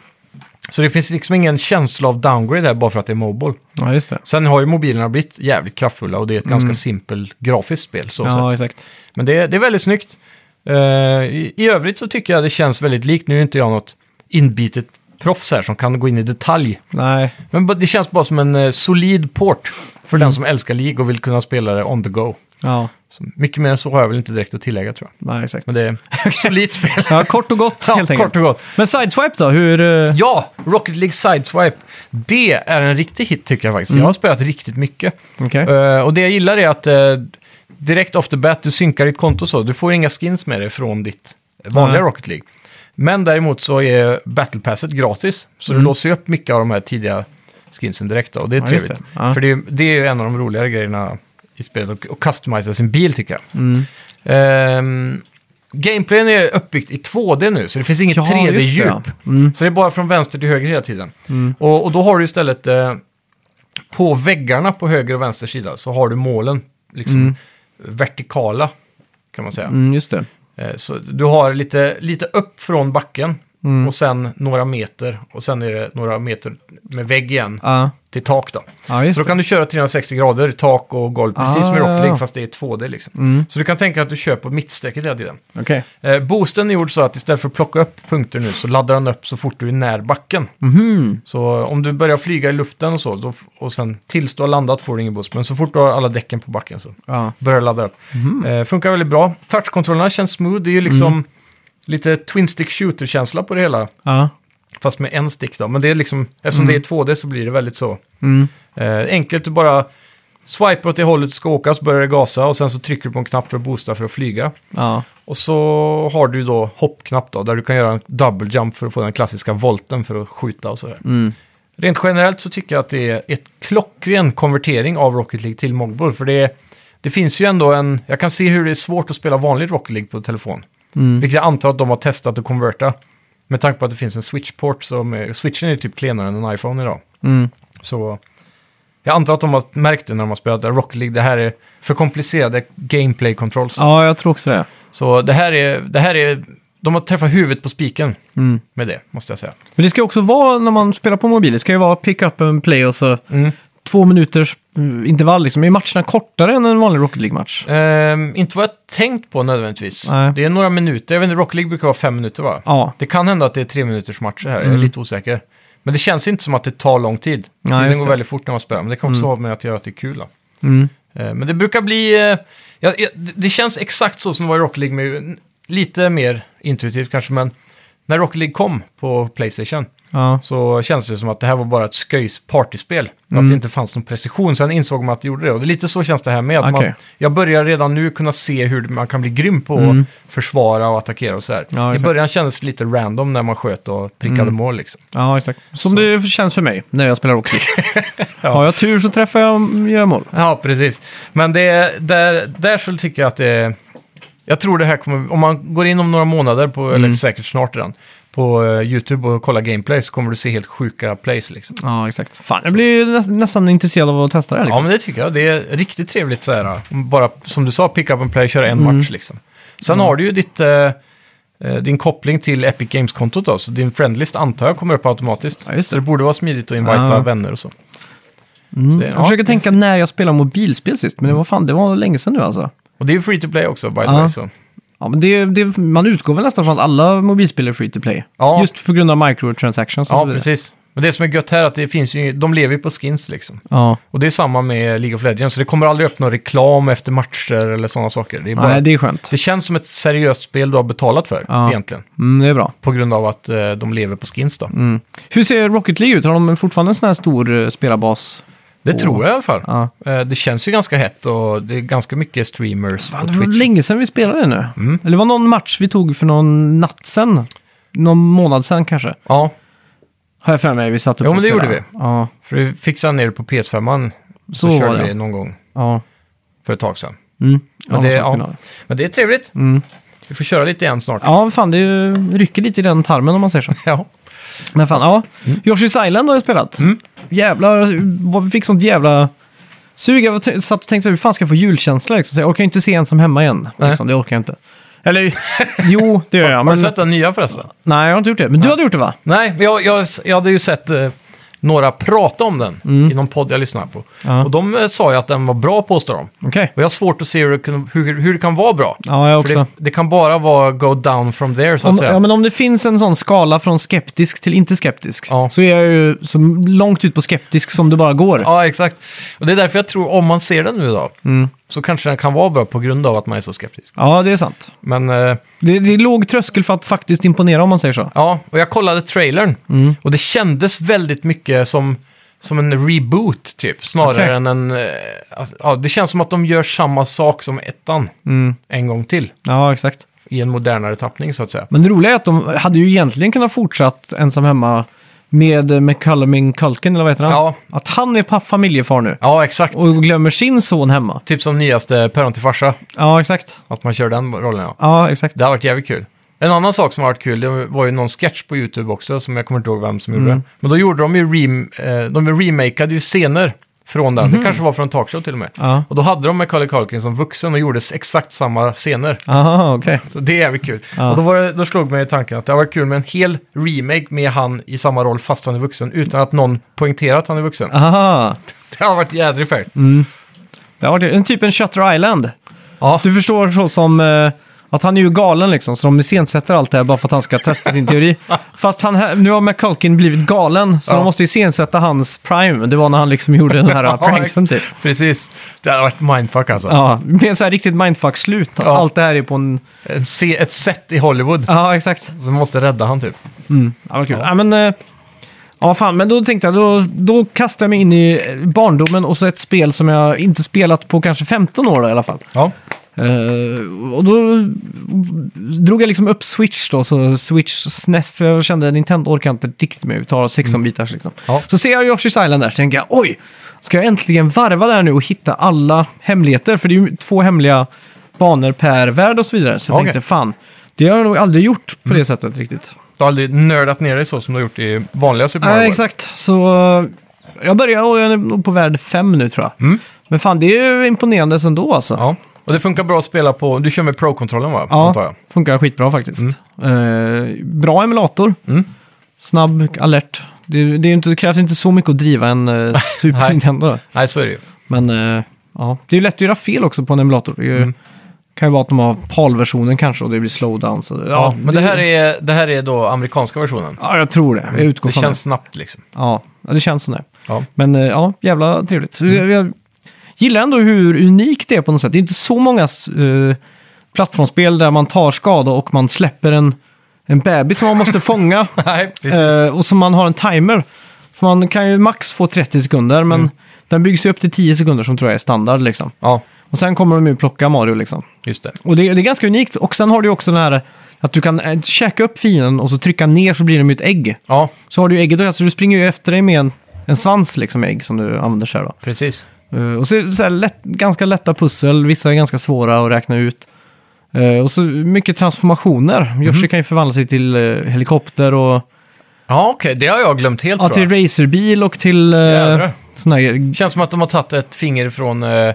Så det finns liksom ingen känsla av downgrade här bara för att det är mobile. Ja, just det. Sen har ju mobilerna blivit jävligt kraftfulla och det är ett ganska simpel grafiskt spel. Så sett. Mm. Ja, exakt. Men det, det är väldigt snyggt. Eh, i, I övrigt så tycker jag det känns väldigt likt. Nu är inte jag något inbitet proffs här som kan gå in i detalj. Nej, Men ba- det känns bara som en eh, solid port för Mm. den som älskar League och vill kunna spela det on the go. ja, Så mycket mer än så har jag väl inte direkt att tillägga tror jag. nej exakt. Men det är ett solidt spel. Ja, kort och gott Ja, helt enkelt. kort och gott. Men Sideswipe då, hur... eh, Ja, Rocket League Sideswipe. Det är en riktig hit tycker jag faktiskt. Mm. Jag har spelat riktigt mycket. Okej. Eh, och det jag gillar är att eh, direkt off the bat, du synkar ditt konto så. Du får inga skins med dig från ditt vanliga Nej. Rocket League. Men däremot så är Battle Passet gratis. Så du låser ju upp mycket av de här tidiga skinsen direkt då, och det är Mm. Ja, just trevligt. det. Ja. För det är, det är ju en av de roligare grejerna i spelet, och, och customisa sin bil tycker jag. Mm. Ehm, gameplayen är uppbyggt i 2D nu, så det finns inget Ja, just det, 3D-djup. ja. Mm. Så det är bara från vänster till höger hela tiden. Mm. Och, och då har du istället eh, på väggarna på höger och vänster sida så har du målen liksom Mm. vertikala kan man säga. Mm, just det. Eh, så du har lite, lite upp från backen Mm. och sen några meter och sen är det några meter med vägg igen Ja, till tak då. ja just Så då kan du köra 360 grader, tak och golv, precis som Ah, i Rocket ja. League, fast det är 2D liksom. det. Mm. Så du kan tänka dig att du kör på mittstrecket hela tiden. Okej. Eh, boosten är gjord så att istället för att plocka upp punkter nu så laddar den upp så fort du är när backen. Mhm. Så om du börjar flyga i luften och så, då, f- och sen tills du har landat får du ingen boost. Men så fort du har alla däcken på backen så Ja. börjar det ladda upp. Mhm. Eh, funkar väldigt bra. Touchkontrollerna känns smooth. Det är ju liksom Mm. lite twin stick shooter-känsla på det hela. Ja. Fast med en stick då. Men det är liksom, eftersom det är 2D så blir det väldigt så. Mm. Eh, enkelt, du bara swipar åt det hållet du ska åka så börjar det gasa och sen så trycker du på en knapp för att boosta för att flyga. Ja. Och så har du då hoppknapp då, där du kan göra en double jump för att få den klassiska volten för att skjuta och sådär. Mm. Rent generellt så tycker jag att det är ett klockren konvertering av Rocket League till Mogbull. För det, det finns ju ändå en... Jag kan se hur det är svårt att spela vanligt Rocket League på telefon. Mm. Vilket jag antar att de har testat att konverta. Med tanke på att det finns en switchport som... är- Switchen är ju typ klenare än en iPhone idag. Mm. Så jag antar att de har märkt det när de har spelat Rocket League. Det här är för komplicerade gameplay controls. ja, jag tror också det. Så det här är... Det här är de har träffat huvudet på spiken Mm. med det, måste jag säga. Men det ska också vara, när man spelar på mobil, det ska ju vara pick up and play och så Mm. två minuters mm, intervall liksom. Är matcherna kortare än en vanlig Rocket League-match? Ehm, inte vad jag tänkt på nödvändigtvis. Nej. Det är några minuter. Jag vet inte, Rocket League brukar vara fem minuter va? Ja. Det kan hända att det är tre minuters matcher här, jag Mm. är lite osäker. Men det känns inte som att det tar lång tid. Nej, Tiden just går det. väldigt fort när man spelar, men det kan också Mm. ha med att göra att det är kul. Då. Mm. Eh, Men det brukar bli... eh, ja, ja, det det känns exakt så som det var i Rocket League, med, n- lite mer intuitivt kanske, men när Rocket League kom på Playstation Ja. så kändes det som att det här var bara ett sköjs partyspel. och Att Mm. det inte fanns någon precision. Sen insåg man att det gjorde det. Och det är lite så känns det här med. Att man, Okej. jag börjar redan nu kunna se hur man kan bli grym på Mm. att försvara och attackera och så här. Ja, I exakt. början kändes det lite random när man sköt och prickade Mm. mål liksom. ja, exakt. Som det känns för mig när jag spelar Rocket League. Har jag tur så träffar jag gör mål. Ja, precis. Men det, där, där så tycker jag att det... Jag tror det här kommer... Om man går in om några månader, på, Mm. eller säkert snart redan, på eh, YouTube och kollar gameplay så kommer du se helt sjuka plays liksom. Ja, exakt. Fan, jag blir ju nä- nästan intresserad av att testa det här. Ja, Liksom. men det tycker jag. Det är riktigt trevligt så här. Bara, som du sa, pick up and play, köra en Mm. match liksom. Sen har du ju ditt, eh, eh, din koppling till Epic Games-kontot då, så din friendlist antar jag kommer upp automatiskt. Ja, just det. Så det borde vara smidigt att invita Ja. vänner och så. Mm. det- jag ja, försöker tänka när jag spelade mobilspel sist, men det var fan, det var länge sedan nu alltså. Och det är ju free to play också, by the Ja. way. Så. Ja, men det, det, man utgår väl nästan från att alla mobilspel är free to play. Ja. Just på grund av microtransactions och så Ja, vidare. precis. Men det som är gött här är att det finns ju, de lever ju på skins liksom. Ja. Och det är samma med League of Legends, så det kommer aldrig upp någon reklam efter matcher eller sådana saker. Det, är bara, Nej, det... det är skönt. känns som ett seriöst spel du har betalat för, Ja. egentligen. Mm, det är bra. På grund av att eh, de lever på skins då. Mm. Hur ser Rocket League ut? Har de fortfarande en sån här stor eh, spelarbas? Det Åh. tror jag i alla fall. Ja. Eh, Det känns ju ganska hett och det är ganska mycket streamers på Fan, det var Twitch. länge sedan vi spelade nu. Mm. Eller det var någon match vi tog för någon natt sen. Någon månad sen kanske. Ja, Har jag för mig. Vi satt upp Jo, och men det spelade. gjorde Ja. för vi fixade ner det på PS5. Så, Så körde var det. vi någon gång Ja. för ett tag sedan. Mm. Men, det, någon ja, sån men det är trevligt. Vi får köra lite igen snart. Mm. Ja, fan det är ju- rycker lite i den tarmen om man säger så. Ja. Men fan, ja. Yoshi's Island har jag spelat. Mm. Jävlar, vad vi fick sånt jävla sug. Jag var t- satt och tänkte så här, hur fan ska jag få julkänsla liksom? Så jag orkar ju inte se ensam hemma igen. Nej. Liksom, det orkar jag inte. Eller jo, det gör jag. Har Men, du sett den nya förresten? nej, jag har inte gjort det. Men du hade gjort det va? Nej, men jag, jag, jag hade ju sett eh, några prata om den i någon podd jag lyssnade på. Mm. Ja. Och de eh, sa ju att den var bra, påstår de. Okej. Och jag har svårt att se hur, det kan- hur, hur det kan vara bra. Ja, jag För också. det, det kan bara vara go down from there, så att Om, säga. ja, men om det finns en sån skala från skeptisk till inte skeptisk Ja. så är jag ju så långt ut på skeptisk som det bara går. Ja, exakt. Och det är därför jag tror, om man ser den nu då, Mm. så kanske den kan vara bra på grund av att man är så skeptisk. Ja, det är sant. Men eh, Det, det är låg tröskel för att faktiskt imponera om man säger så. ja, och jag kollade trailern och det kändes väldigt mycket som, som en reboot typ, snarare Okej. än en... eh, att- ja, det känns som att de gör samma sak som ettan en gång till Ja, exakt. i en modernare tappning så att säga. Men det roliga är att de hade ju egentligen kunnat fortsatt ensam hemma med McCulluming Culkin, eller vad heter han? Ja. Att han är pa- familjefar nu Ja, exakt. och glömmer sin son hemma. Typ som nyaste Päron till farsa, Ja, exakt. att man kör den rollen. Ja. Ja, exakt. Det har varit jävligt kul. En annan sak som har varit kul, det var ju någon sketch på YouTube också, som jag kommer inte ihåg vem som gjorde. det. Men då gjorde de ju rem, eh, de remakeade ju scener från den. Det kanske var från talkshow till och med. Ja. Och då hade de med Kalle Kalkin som vuxen och gjorde s- exakt samma scener. Aha, okej. Så det är jävligt kul. Ja. Och då, var det, då slog mig i tanken att det har varit kul med en hel remake med han i samma roll fast han är vuxen, utan att någon poängterar att han är vuxen. Aha. Det har varit jädrigt fett. Mm. Det har varit en typ en Shutter Island. Ja. Du förstår så som eh, att han är ju galen liksom, så de iscensätter allt det här bara för att han ska testa sin teori. Fast han, här- nu har McCulkin blivit galen, så Ja. de måste iscensätta hans prime. Det var när han liksom gjorde den här pranksen typ. Precis. Det har varit mindfuck alltså. Ja, med så här riktigt mindfuck-slut. Ja. Allt det här är på en... En se, ett set i Hollywood Ja, exakt. som måste rädda han typ. Ja, vad kul. Ja, men... eh, Ja, fan, men då tänkte jag, då, då kastar jag mig in i eh, barndomen och så ett spel som jag inte spelat på kanske 15 år då, i alla fall. Ja. Eh, och då drog jag liksom upp Switch då, så Switch SNES, för jag kände Nintendo orkar jag inte riktigt med, vi tar 16-bitars liksom. Mm. Ja. Så ser jag Yoshi's Island där, så tänker jag oj, ska jag äntligen varva där nu och hitta alla hemligheter? För det är ju två hemliga banor per värld och så vidare. Så jag Okej. Mm. tänkte fan, det har jag nog aldrig gjort på det sättet riktigt. Du har aldrig nördat ner dig så som du har gjort i vanliga Super Mario Nej, World. exakt. Så eh, jag börjar och jag är nog på värld 5 nu tror Mm. jag. Men fan, det är ju imponerande ändå alltså. Ja. Och det funkar bra att spela på, du kör med Pro-kontrollen va? Antar Ja, jag. funkar skitbra faktiskt. Eh, bra emulator. Mm. Snabb, alert. Det, det, är inte, det krävs inte så mycket att driva en eh, Super Nej. Nintendo. Nej, så är det ju. Men eh, ja, det är ju lätt att göra fel också på en emulator. Det är Mm. ju, kan ju vara att de har PAL-versionen kanske och det blir slowdown. Så, ja, Ja, men det, här är, det här är då amerikanska versionen. Ja, jag tror det. Jag utgår Mm. Det från känns känns... snabbt liksom. det. Ja, ja, det känns som det. Ja. Men eh, ja, jävla trevligt. Jag, jag gillar ändå hur unikt det är på något sätt. Det är inte så många eh, plattformsspel där man tar skada och man släpper en, en bebis som man måste fånga Nej, precis. eh, och som man har en timer. För man kan ju max få 30 sekunder, men Mm. den byggs ju upp till 10 sekunder som tror jag är standard. Liksom. Ja, Och sen kommer de ju plocka Mario liksom. just det. Och det, det är ganska unikt. Och sen har du ju också den här att du kan eh, käka upp fienden och så trycka ner så blir de ju ett ägg. Ja, Så har du ju ägget, alltså du springer ju efter dig med en, en svans liksom ägg som du använder så här då. precis. Eh, och så är det så här lätt, ganska lätta pussel, vissa är ganska svåra att räkna ut. Eh, och så mycket transformationer. Mhm. Yoshi kan ju förvandla sig till eh, helikopter och Ja, okej. Det har jag glömt helt ja, tror till jag. racerbil och till uh, Jädrar. sån här... Känns som att de har tagit ett finger från eh,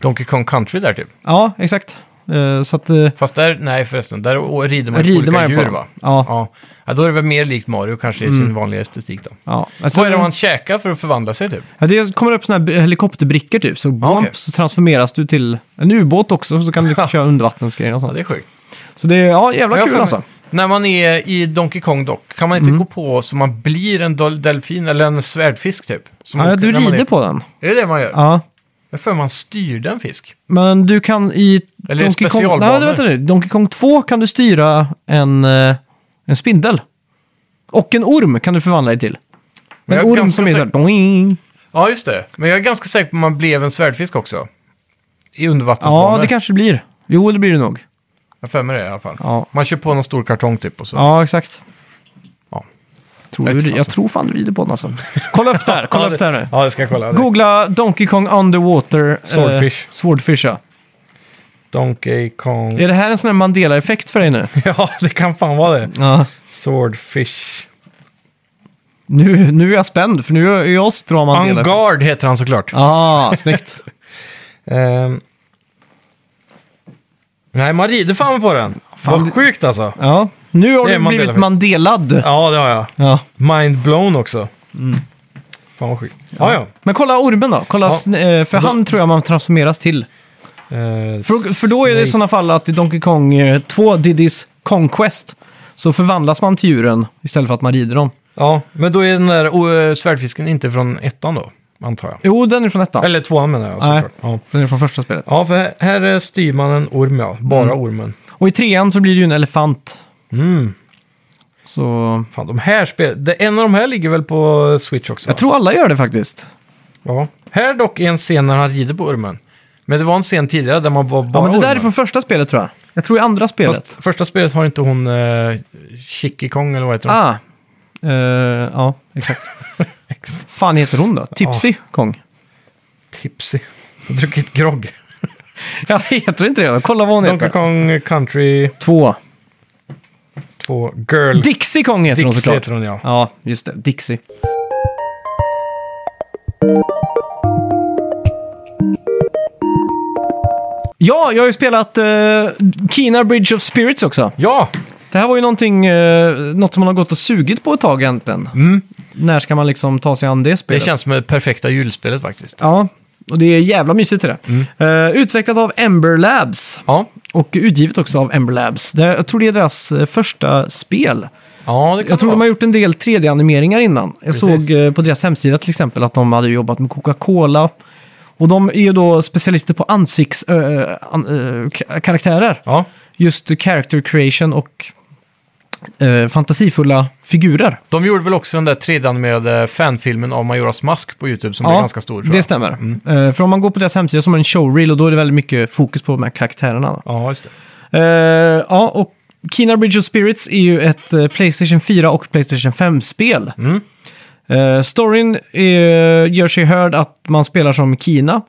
Donkey Kong Country där typ. Ja, exakt. Eh, så att... Uh, Fast där, nej förresten, där å- rider man ju på olika djur dem. va? Ja. Mm. Ja. ja, då är det väl mer likt Mario kanske i sin vanliga estetik då. ja. Men sen- Vad är det man käkar för att förvandla sig typ? ja, det kommer upp såna här helikopterbrickor typ, så, bump, okej. så transformeras du till en ubåt också, så kan du liksom köra undervattensgrejer och Ja, sånt. det är sjukt. Så det är, ja, Men jävla jag kul får- alltså. Mm. När man är i Donkey Kong dock, kan man inte gå på så man blir en dol- delfin eller en svärdfisk typ? Som Ja, åker du när man rider är... på den. Är det det man gör? Ja. Jag för man styrde en fisk. Men du kan i... Eller Kong... specialbanor. Nej, vänta nu. Donkey Kong 2 kan du styra en, eh, en spindel. Och en orm kan du förvandla dig till. Men En jag är orm ganska som är så här... säker- Boing. Ja, just det. Men jag är ganska säker på att man blev en svärdfisk också. I undervattensbanor. Ja, det kanske det blir. Jo, det blir det nog. Jag för mig det i alla fall. Ja. Man kör på någon stor kartong typ och så. Ja, exakt. Ja. tror, Jag vet jag, fan. jag tror fan du rider på den alltså. Kolla upp det här, kolla Ja, upp det här nu. Ja, det ska jag kolla. Go- Googla Donkey Kong Underwater. Swordfish. Eh, Swordfish, ja. Donkey Kong. Är det här en sån här Mandela-effekt för dig nu? Ja, det kan fan vara det. Ja. Swordfish. Nu, nu är jag spänd, för nu är jag sitter och har Mandela-effekt. Vanguard heter han såklart. Ah, snyggt. Ehm. Nej, man rider fan på den. Fan, Vad det- sjukt alltså. Ja. Nu har Det är du blivit Mandelad. Ja, det har jag. Ja. Mind blown också. Mm. Fan vad sjukt. Ja, ja. Men kolla ormen då. Kolla, Ja. sn- eh, för han tror jag man transformeras till. Eh, För, för då är det i Snake- sådana fall att i Donkey Kong eh, 2, Diddy's Conquest, så förvandlas man till djuren istället för att man rider dem. Ja, men då är den där oh, svärdfisken inte från ettan då, antar jag. Jo, den är från ettan. Eller tvåan menar jag Nej. såklart. Ja. Den är från första spelet. ja, för här, här eh, styr man en orm ja. Bara Mm. ormen. Och i trean så blir det ju en elefant. Mm. Så... Fan, de här spel... det- En av de här ligger väl på Switch också? va? Jag tror alla gör det faktiskt. Ja. Här dock är en scen när han rider på ormen. Men det var en scen tidigare där man var bara Ja, men det där är ormen. från första spelet tror jag. Jag tror i andra spelet. Fast första spelet har inte hon eh, Chicky Kong eller vad heter hon? Ah. Eh, ja, exakt. Fan heter hon då? Tipsy Kong? Tipsy. Hon har druckit grogg. Ja, heter inte det då? Kolla vad hon Donkey heter. Kong Country Två. 2 Girl. Dixie Kong heter hon Dixie såklart. heter hon ja. Ja, just det. Dixie. Ja, jag har ju spelat eh, Kina Bridge of Spirits också. Ja, Det här var ju någonting, eh, något som man har gått och sugit på ett tag egentligen. När ska man liksom ta sig an det Mm. det spelet? känns som det perfekta julspelet faktiskt. Ja, och det är jävla mysigt är det. Mm. Eh, utvecklat av Ember Labs Ja, och utgivet också av Ember Labs. Det, jag tror det är deras eh, första spel. ja det kan Jag tror det de vara. har gjort en del 3D-animeringar innan. Jag Precis. såg eh, på deras hemsida till exempel att de hade jobbat med Coca-Cola. Och de är ju då specialister på ansiktskaraktärer. Ja, Just character creation och eh, fantasifulla figurer. de gjorde väl också den där 3D-animerade fanfilmen av Majoras Mask på YouTube som Ja, blev ganska stor tror Det jag. Mm. stämmer. Eh, för om man går på deras hemsida som en showreel och då är det väldigt mycket fokus på de här karaktärerna. då. Ja, just det. Eh, ja, och Kina Bridge of Spirits är ju ett eh, Playstation 4 och Playstation 5-spel. Mm. Eh, storyn är, gör sig hörd att man spelar som Kina.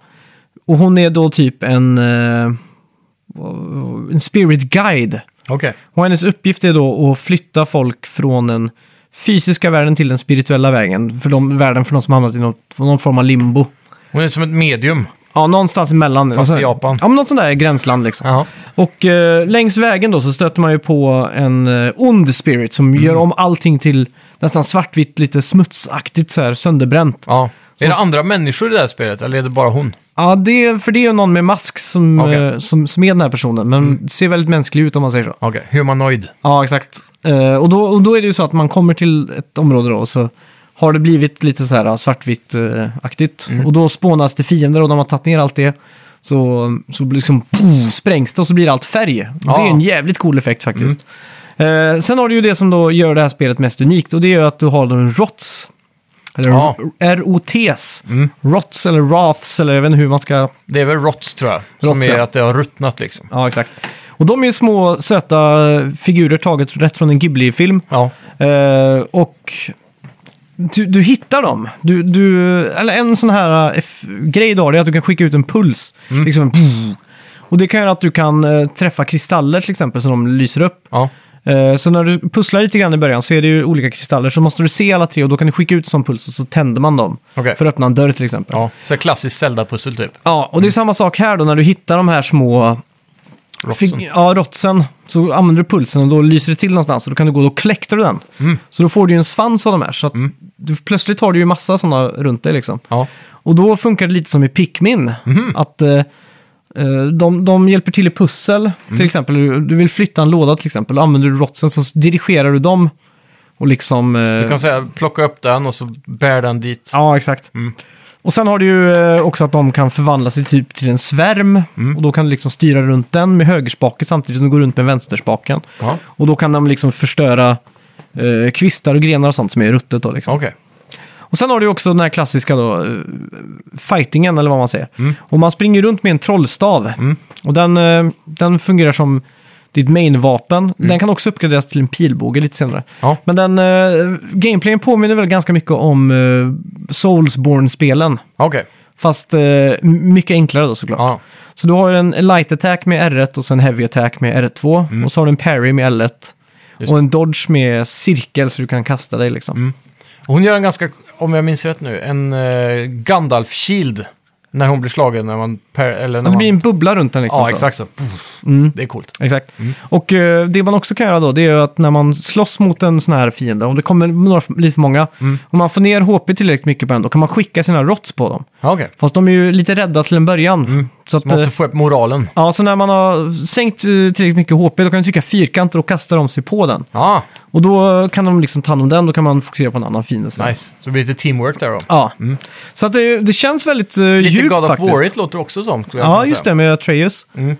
Och hon är då typ en, eh, en spirit guide. Okej. Och hennes uppgift är då att flytta folk från den fysiska världen till den spirituella vägen. För de, världen för de som hamnat i något, någon form av limbo. Hon är som ett medium. Ja, någonstans emellan. Fast i Japan. Ja, men något sånt där gränsland liksom. Ja. Och eh, längs vägen då så stöter man ju på en eh, ond spirit som gör Mm. om allting till nästan svartvitt, lite smutsaktigt så här sönderbränt. ja. Är det Så- andra människor i det här spelet eller är det bara hon? Ja, det, är- för det är ju någon med mask som, Okej. Mm. eh, som, som är den här personen, men ser väldigt mänsklig ut om man säger så. Okej, humanoid. Ja, exakt. Eh, och, då, och då är det ju så att man kommer till ett område då och så har det blivit lite så här ja, svartvitt-aktigt. Mm. Och då spånas det fiender och de har tagit ner allt det. Så, så blir liksom pff, sprängs det och så blir allt färg. Det Ja. Mm. är en jävligt cool effekt faktiskt. Eh, sen har du ju det som då gör det här spelet mest unikt och det är ju att du har en ROTS. Eller Ja. Mm. ROTS. ROTS eller ROTHs eller jag vet inte hur man ska... Det är väl rots tror jag. som Rots, är ja. att det har ruttnat liksom. Ja, exakt. Och de är ju små söta figurer taget rätt från en Ghibli-film. Ja. Eh, och du, du hittar dem. Du, du, eller en sån här eh, f- grej då, det är att du kan skicka ut en puls. Liksom, en pff. och det kan göra att du kan eh, träffa kristaller till exempel, så de lyser upp. ja. Eh, så när du pusslar lite grann i början så är det ju olika kristaller, så måste du se alla tre och då kan du skicka ut en sån puls och så tänder man dem. Okej. För att öppna en dörr till exempel. ja. Så här klassiskt Zelda-pussel typ. Ja, och det är samma sak här då när du hittar de här små Rotsen. Fig- ja, rotsen. Så använder du pulsen och då lyser det till någonstans och då kan du gå och kläcktar du den. Mm. Så då får du ju en svans av de här. Så att du, plötsligt har du ju massa sådana runt dig liksom. Ja. Mhm. Och då funkar det lite som i Pikmin. Att eh, eh, de, de hjälper till i pussel. Mm. Till exempel, du- du vill flytta en låda till exempel. Då använder du rotsen så s- dirigerar du dem. Och liksom... eh, Du kan säga plocka upp den och så bär den dit. Ja, exakt. Och sen har du ju eh, också att de kan förvandla sig typ till en svärm. Och då kan du liksom styra runt den med högerspaken samtidigt som du går runt med vänsterspaken. Ja. Och då kan de liksom förstöra eh, kvistar och grenar och sånt som är ruttet då liksom. Okej. Och sen har du ju också den här klassiska då, eh, fightingen eller vad man säger. Och man springer runt med en trollstav. Och den, eh, den fungerar som, ditt main-vapen. Den kan också uppgraderas till en pilbåge lite senare. Ja. Men den, eh, gameplayen påminner väl ganska mycket om eh, Soulsborne-spelen. Okej. Fast eh, m- mycket enklare då såklart. Ja. Så du har en light attack med R1 och sen heavy attack med R2. Och så har du en parry med L1. Mm. Just Mm. och en dodge med cirkel så du kan kasta dig liksom. Hon gör en ganska, om jag minns rätt nu, en eh, Gandalf-shield när hon blir slagen. När man per, eller Det när man, blir en bubbla runt den liksom. Ja, så. exakt så. Puff. Mm. Det är coolt. Exakt. Och eh, det man också kan göra då, det är ju att när man slåss mot en sån här fiende, om det kommer några för- lite för många, Mm. om man får ner HP tillräckligt mycket på en, då kan man skicka sina rots på dem. Ja, Okej. Fast de är ju lite rädda till en början. Så att, Mm. Måste eh, få upp moralen. ja, så när man har sänkt eh, tillräckligt mycket HP, då kan du trycka fyrkanter och kasta dem sig på den. Ja, Och då kan de liksom ta hand om den, då kan man fokusera på en annan fiende. sen. nice. Så det blir lite teamwork där då. Ja. Så att det, det känns väldigt eh, Lite djupt God of faktiskt. War it låter också som. skulle jag Ja, kunna just säga. det, med Atreus. Mm.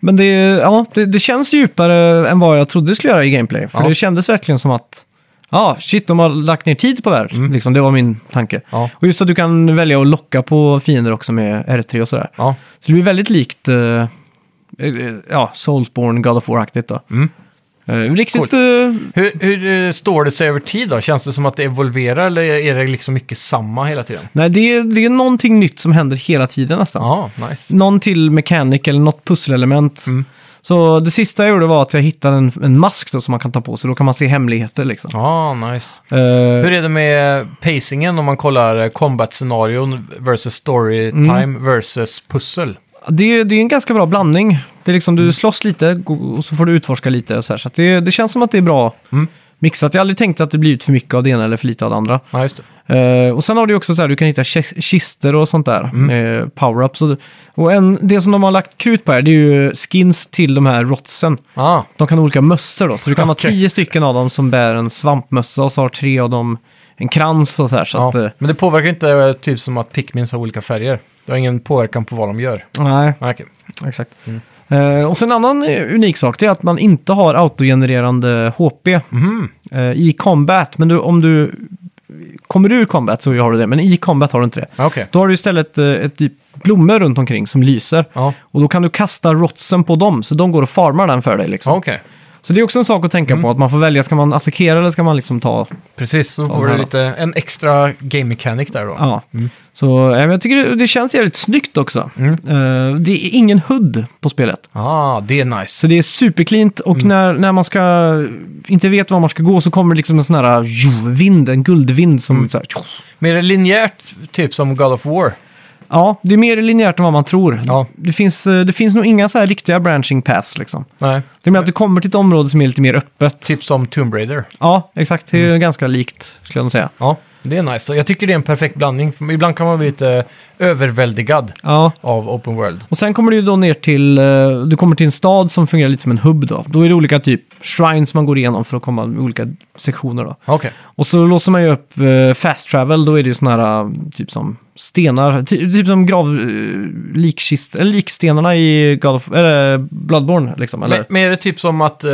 Men det, ja, det, det känns djupare än vad jag trodde det skulle göra i gameplay. För Ja. det kändes verkligen som att, ja, shit, de har lagt ner tid på det här. Mm. Liksom, det var min tanke. Ja. Och just att du kan välja att locka på fiender också med R3 och sådär. Ja. Så det blir väldigt likt, eh, eh, ja, Soulsborne, God of War-aktigt då. Mm. Eh, Coolt. riktigt, eh, Hur, hur eh, står det sig över tid då? Känns det som att det evolverar eller är det liksom mycket samma hela tiden? nej, det, är- det är någonting nytt som händer hela tiden nästan. Ja, nice. någon till mechanic eller något pusselelement. Mm. Så det sista jag gjorde var att jag hittade en, en mask då som man kan ta på sig. Då kan man se hemligheter liksom. Ja, nice. Eh, Hur är det med pacingen om man kollar eh, combat-scenarion versus Mm. storytime versus pussel? det, är- det är en ganska bra blandning. Det är liksom, Mm. du slåss lite go- och så får du utforska lite. Och så här. så att det, det känns som att det är bra Mm. mixat. Jag har aldrig tänkt att det blivit för mycket av det ena eller för lite av det andra. Ja, just det. Eh, och sen har du ju också så här, du kan hitta kis- kister och sånt där. Mm. Power-ups. Och, och en, det som de har lagt krut på här, det är ju skins till de här rotsen. Ah, De kan ha olika mössor då, så du kan Okej. ha tio stycken av dem som bär en svampmössa och så har tre av dem en krans och så här. Så ja. att, eh, Men det påverkar inte eh, typ som att Pikmins har olika färger. Det har ingen påverkan på vad de gör. nej, Ah, okej. exakt. Eh, och sen en annan eh, unik sak, det är att man inte har autogenererande HP Mhm. eh, i combat. Men du, om du kommer ur combat så har du det, men i combat har du inte det. Ja, Ah, Okej. Då har du istället eh, ett typ blommor runt omkring som lyser. Ja, Och då kan du kasta rotsen på dem, så de går och farmar den för dig. Liksom. Ja, Ah, Mm. okej. Så det är också en sak att tänka på, att man får välja, ska man attackera eller ska man liksom ta Precis, så Ja, får här du då. lite en extra game mechanic där då. Ja, så eh, men jag tycker det, det känns jävligt snyggt också. Mm. Eh, det är ingen HUD på spelet. Ah, det är nice. Så det är supercleant och Mm. när, när man ska, inte vet var man ska gå så kommer det liksom en sån här jo, vind, en guldvind Mm. som så här, tjo. Men är det linjärt, typ som God of War? Ja, det är mer linjärt än vad man tror. Ja. Det, finns, eh, det finns nog inga så här riktiga branching paths liksom. Nej. Det är mer att du kommer till ett område som är lite mer öppet. Typ som Tomb Raider? Ja, exakt. Det är Mm. ganska likt skulle jag nog säga. Ja, det är nice. Jag tycker det är en perfekt blandning. För Ibland kan man bli lite överväldigad Ja. av open world. Och sen kommer du ju då ner till, eh, du kommer till en stad som fungerar lite som en hubb då. Då är det olika typ shrines man går igenom för att komma i olika sektioner då. Okej. Och så låser man ju upp eh, fast travel, då är det ju sådana här eh, typ som stenar, ty, typ som grav, eh, likkist, eller likstenarna i God of, eller eh, Bloodborne liksom. Eller? Men, men är det typ som att eh,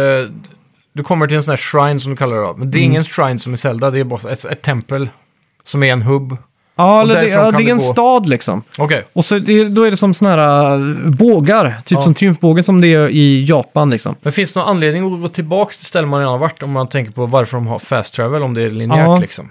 du kommer till en sån här shrine som du kallar det då? Men det är ingen shrine som är Zelda, det är bara ett, ett tempel som är en hubb. ja, eller det, därifrån ja, kan det är du en gå- stad liksom. Okej. Och så det, då är det som sådana här eh, bågar, typ Ja. som triumfbågen som det är i Japan liksom. Men finns det någon anledning att gå tillbaka till ställen man redan har varit om man tänker på varför de har fast travel om det är linjärt Ja. liksom?